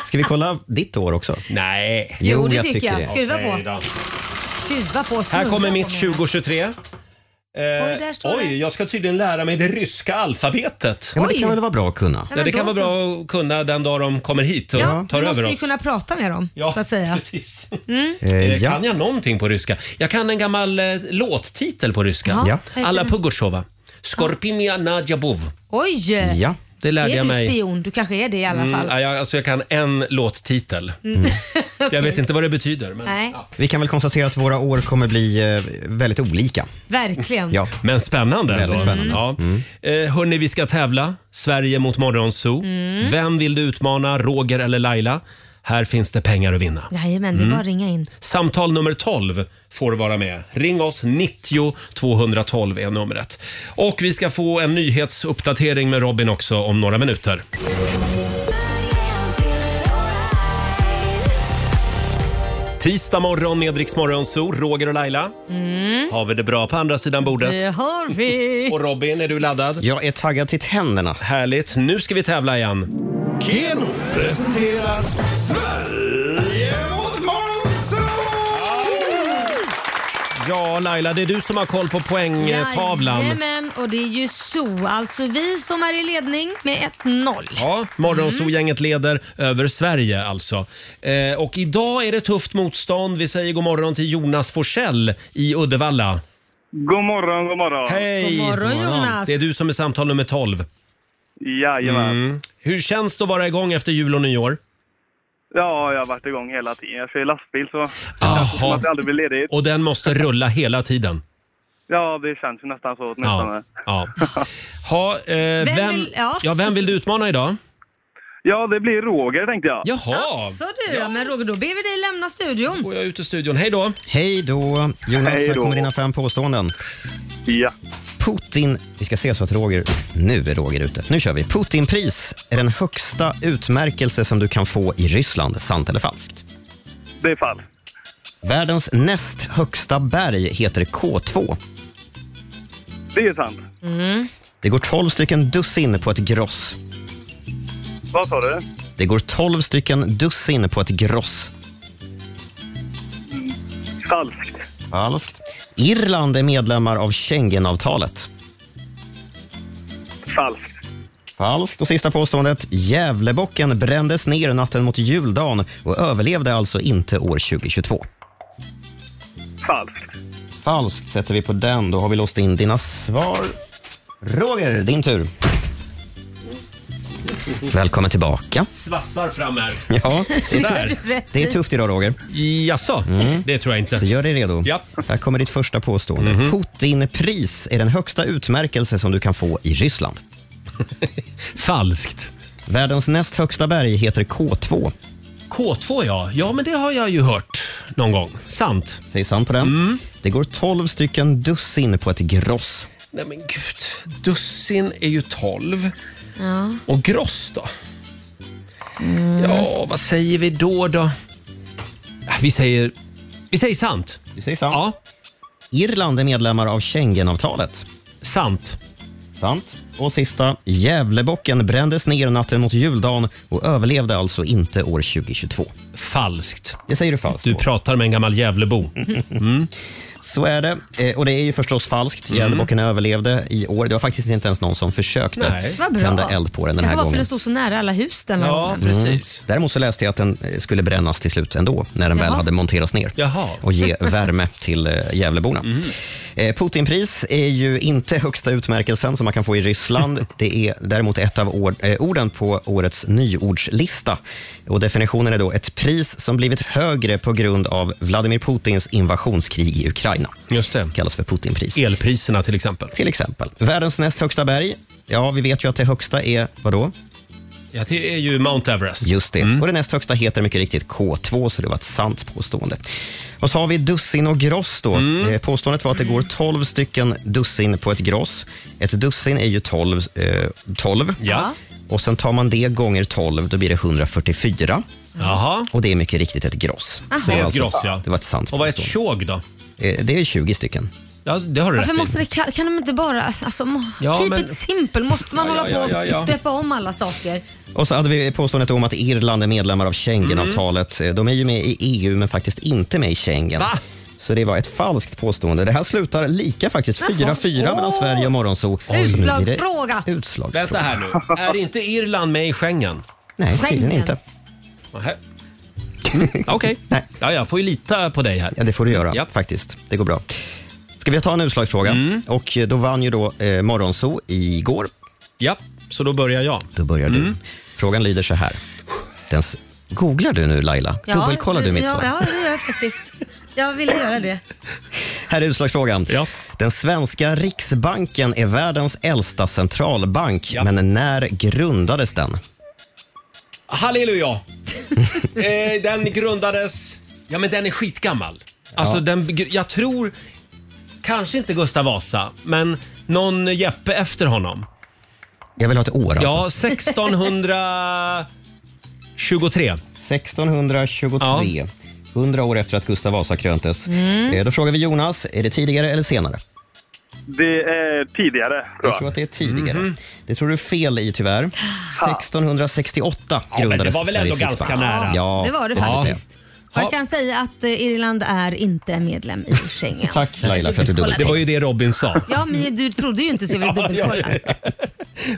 C: Ska vi kolla ditt år också?
A: Nej.
B: Jo, det tycker jag. Skruva på.
A: Okej då.
B: Skruva på.
A: Här
B: snurra
A: kommer
B: på
A: mitt
B: mig.
A: 2023. Eh,
B: där står det.
A: oj, jag ska tydligen lära mig det ryska alfabetet.
C: Ja, men det kan väl vara bra att kunna?
A: Ja, det kan vara bra att kunna den dag de kommer hit och
B: Ja,
A: tar
B: du
A: över
B: måste
A: oss.
B: ju kunna prata med dem så att säga.
A: precis.
B: Mm.
A: Eh,
C: ja.
A: Kan jag någonting på ryska? Jag kan en gammal eh, låttitel på ryska.
B: Ja. Ja. Vad heter
A: Alla
B: den?
A: Pugosjova. Skorpimia Nadjabov.
B: Oj!
A: Det lärde
B: är
A: jag
B: du
A: mig.
B: spion? Du kanske är det i alla
A: Mm,
B: fall.
A: ja, jag, alltså jag kan en låttitel.
B: Mm.
A: Jag vet inte vad det betyder. Men...
B: Nej,
C: Vi kan väl konstatera att våra år kommer bli eh, väldigt olika.
B: Mm. verkligen.
C: Ja.
A: Men spännande ändå.
C: Väldigt spännande. Mm.
A: Ja. Eh, hörni, vi ska tävla. Sverige mot Morgonzoo.
B: Mm.
A: Vem vill du utmana, Roger eller Laila? Här finns det pengar att vinna.
B: Jajamän, det är
A: Mm.
B: bara att ringa in.
A: Samtal nummer 12 får vara med. Ring oss, 90 212 är numret. Och vi ska få en nyhetsuppdatering med Robin också om några minuter. Tisdag morgon med Rix Morgonzoo, Roger och Laila.
B: Mm.
A: Har vi det bra på andra sidan bordet?
B: Det har vi.
A: Och Robin, är du laddad?
C: Jag är taggad till tänderna.
A: Härligt. Nu ska vi tävla igen.
R: Keno presenterar Sverige mot Monzo!
A: Ja, Laila, det är du som har koll på poängtavlan.
B: Jajamän, och det är ju så. Alltså vi som är i ledning med 1-0.
A: Ja, Morgonzoo-gänget
B: Mm.
A: leder över Sverige alltså. Eh, och idag är det tufft motstånd. Vi säger god morgon till Jonas Forsell i Uddevalla.
H: God morgon, god morgon.
A: Hej!
H: God morgon, Jonas.
A: Det är du som är samtal nummer 12.
H: Jajamän.
A: Mm. Hur känns det att vara igång efter jul och nyår?
H: Ja, jag har varit igång hela tiden. Jag kör lastbil så det känns som att det aldrig blir ledigt.
A: Och den måste rulla hela tiden.
H: Ja, det känns ju nästan så åtminstone.
A: Ja. ja. Ha, eh,
H: Vem
A: vem,
H: vill-
A: ja. vem vill du utmana idag?
S: Ja, det blir Roger tänkte jag.
A: Jaha!
H: Alltså.
B: Så du, ja. men Roger, då ber vi dig lämna studion.
A: Går jag ut ur studion. Hej då!
C: Hej då! Jonas,
A: Hej
C: här
A: då.
C: kommer dina fem påståenden.
S: Ja.
C: Putin, vi ska se så att Roger, nu är Roger ute. Nu kör vi. Putinpris är den högsta utmärkelse som du kan få i Ryssland. Sant eller falskt?
S: Det är falskt.
C: Världens näst högsta berg heter K2.
S: Det är sant.
C: Det går 12 stycken dussin på ett gross.
S: Vad sa du?
C: Det går 12 stycken dussin på ett gross.
S: Falskt.
C: Falskt. Irland är medlemmar av Schengenavtalet.
S: Falskt.
C: Falskt. Och sista påståendet. Gävlebocken brändes ner natten mot juldagen och överlevde alltså inte år 2022.
S: Falskt.
C: Falskt sätter vi på den. Då har vi låst in dina svar. Roger, din tur. Välkommen tillbaka.
A: Svassar fram här.
C: Ja,
A: Sådär.
C: det är tufft idag Roger.
A: Jaså? Det tror jag inte.
C: Så gör dig redo.
A: Ja.
C: Här kommer ditt första påstående. Putinpris är den högsta utmärkelse som du kan få i Ryssland.
A: Falskt.
C: Världens näst högsta berg heter K2.
A: K2 ja. Ja, men det har jag ju hört någon gång. Sant.
C: Säg sant på den. Det går 12 stycken dussin på ett gross.
A: Nej men gud. Dussin är ju 12.
M: Ja.
A: Och gross då?
B: Mm.
A: Ja, vad säger vi då då? Äh, Vi säger, vi säger sant.
C: Du säger sant. Ja. Irland är medlemmar av Schengenavtalet.
A: Sant.
C: Sant. Och sista. Gävlebocken brändes ner natten mot juldagen och överlevde alltså inte år 2022.
A: Falskt.
C: Det säger du falskt.
A: Du pratar med en gammal Gävlebo.
C: Mm. Så är det. Eh, Och det är ju förstås falskt. Gävlebocken överlevde i år. Det var faktiskt inte ens någon som försökte
B: Nej. Vad bra.
C: tända eld på den den
B: Kanske
C: här
B: var för
C: gången.
B: den stod så nära alla hus den här gången.
A: typ.
C: Mm. Däremot så läste jag att den eh, skulle brännas till slut ändå, när den väl
B: Jaha.
C: hade monterats ner.
A: Jaha.
C: och ge värme till eh, Gävleborna. Eh, Putinpris är ju inte högsta utmärkelsen som man kan få i Ryssland. Det är däremot ett av ord, eh, orden på årets nyordslista. Och definitionen är då ett pris som blivit högre på grund av Vladimir Putins invasionskrig i Ukraina.
A: Just det.
C: kallas för Putinpris.
A: Elpriserna till exempel.
C: Till exempel. Världens näst högsta berg. Ja, vi vet ju att det högsta är vadå?
A: Ja, det är ju Mount Everest.
C: Just det. Och det näst högsta heter mycket riktigt K2, så det var ett sant påstående. Och så har vi dussin och gross då.
A: Mm.
C: Eh, Påståendet var att det går 12 stycken dussin på ett gross. Ett dussin är ju 12. Eh, 12.
A: Ja.
C: Och sen tar man det gånger 12, då blir det 144.
A: Jaha.
C: Och det är mycket riktigt ett gross.
A: Aha.
C: Så
A: Det är ett
C: alltså-
A: gross, ja.
C: Det var ett sant
A: Och vad är ett
C: påstående.
A: tjog då?
C: Eh, Det är 20 stycken.
A: Ja, det har du
B: Varför
A: rätt i.
B: måste det, kan, kan de inte bara, alltså, må-
C: Ja,
B: keep
C: men-
B: it simple, måste man
A: Ja,
B: hålla
A: ja,
B: på och
A: ja, ja, ja.
B: döpa om alla saker?
C: Och så hade vi påståendet om att Irland är medlemmar av Schengenavtalet.
B: Mm.
C: Eh, De är ju med i EU, men faktiskt inte med i Schengen. Så det var ett falskt påstående. Det här slutar lika faktiskt. 4-4 mellan Sverige och Morgonzoo.
B: Utslagsfråga.
C: Utslagsfråga.
A: Vänta här nu. Är inte Irland med i Schengen?
C: Nej, tydligen
A: Schengen.
C: inte.
A: Nähä. Mm, Okej. Ja, jag får ju lita på dig här.
C: Ja, det får du göra faktiskt. Det går bra. Ska vi ta en utslagsfråga?
A: Mm.
C: Och eh, då vann ju då eh, Morgonzoo igår.
A: Ja, så då börjar jag.
C: Då börjar du.
A: Mm.
C: Frågan lyder så här. Den s- Googlar du nu Laila? Dubbelkollar du mitt
B: ja,
C: svar?
B: Ja, det gör jag faktiskt. Jag ville göra det.
C: Här är utslagsfrågan. Den svenska Riksbanken är världens äldsta centralbank, men när grundades den?
A: Halleluja! eh, den grundades... Ja, men den är skitgammal. Alltså, den, jag tror kanske inte Gustav Vasa, men någon Jeppe efter honom.
C: Jag vill ha ett år
A: Ja,
C: alltså.
A: 1623.
C: 1623. 100 år efter att Gustav Vasa kröntes.
S: Mm.
C: Eh, Då frågar vi Jonas, är det tidigare eller senare?
S: Det är tidigare, tror
C: Jag tror att det är tidigare.
A: Mhm.
C: Det tror du är fel i tyvärr. 1668
A: men det
C: grundades
A: var väl ändå
C: Sveriges
A: ganska
C: riksbank.
A: nära.
C: Ja,
B: Det var det
C: kan man
B: faktiskt. Och Jag kan säga att eh, Irland är inte medlem i Schengen.
C: säga. Tack Laila för att du
A: Det var
C: dubbelkollade.
A: ju det Robin sa.
B: Ja, men du trodde ju inte så jag ville dubbelkolla.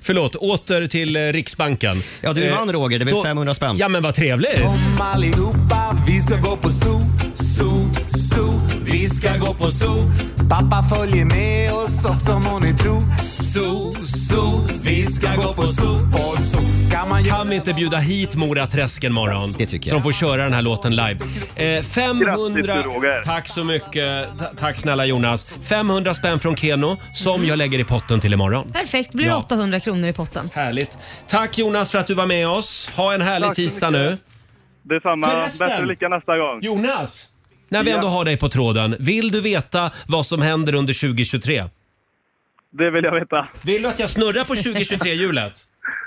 A: Förlåt, åter till eh, Riksbanken. Eh,
C: Ja, du vann, Roger. Det blev 500 spänn.
A: Ja, men vad trevligt!
D: Kom allihopa, vi ska gå på zoo, zoo, zoo. Vi ska gå på zoo. Pappa
H: é
D: följer med oss också må ni tro. Zoo, zoo, vi ska gå på zoo. På zoo kan
H: man
A: Kan vi inte bjuda hit Mora Träsk en morgon? Det tycker jag. Som får köra den här låten live. Eh, 500...
T: Grattis, Roger.
A: Tack så mycket. Ta- tack snälla Jonas. 500 spänn från Keno som jag lägger i potten till imorgon.
B: Perfekt, blir det
A: Ja.
B: 800 kronor i potten.
A: Härligt. Tack Jonas för att du var med oss. Ha en härlig
B: Tack så
A: tisdag
B: mycket.
A: nu.
T: Detsamma.
A: Förresten.
T: Bättre lycka nästa gång.
A: Jonas! När vi
T: Ja.
A: ändå har dig på tråden, vill du veta vad som händer under 2023?
T: Det vill jag veta.
A: Vill du att jag snurrar på 2023-hjulet?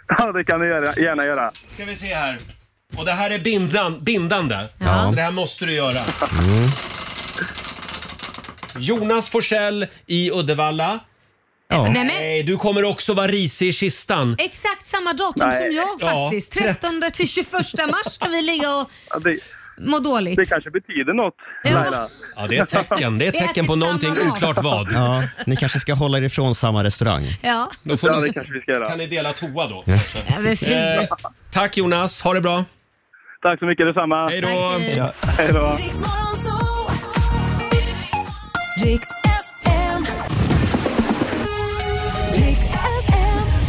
T: Ja, det kan du göra, gärna göra.
A: Ska vi se här. Och det här är bindan, bindande.
T: Ja.
A: Så det här måste du göra. Jonas Forsell i Uddevalla.
B: Ja. Nej, men-
A: Nej, du kommer också vara risig i kistan.
B: Exakt samma datum
A: Nej.
B: som jag
A: Ja,
B: faktiskt. 13 till 21 mars ska vi ligga och må dåligt.
T: Det kanske betyder något, Laila.
A: Ja, det är ett tecken. Det är ett
B: Vi äter
A: tecken på någonting
B: samma mat.
A: oklart vad.
C: Ja, ni kanske ska hålla er ifrån samma restaurang.
B: Ja.
A: Då får
T: Ja,
A: ni,
T: det kanske vi ska göra.
A: Kan ni dela toa då?
C: Ja.
B: Ja, men fy.
A: Eh, tack Jonas, ha det bra.
T: Tack så mycket, detsamma.
A: Hej då.
T: Tack,
B: eh,
T: hej.
A: Ja.
T: Hej då.
L: Riks FM. Riks FM.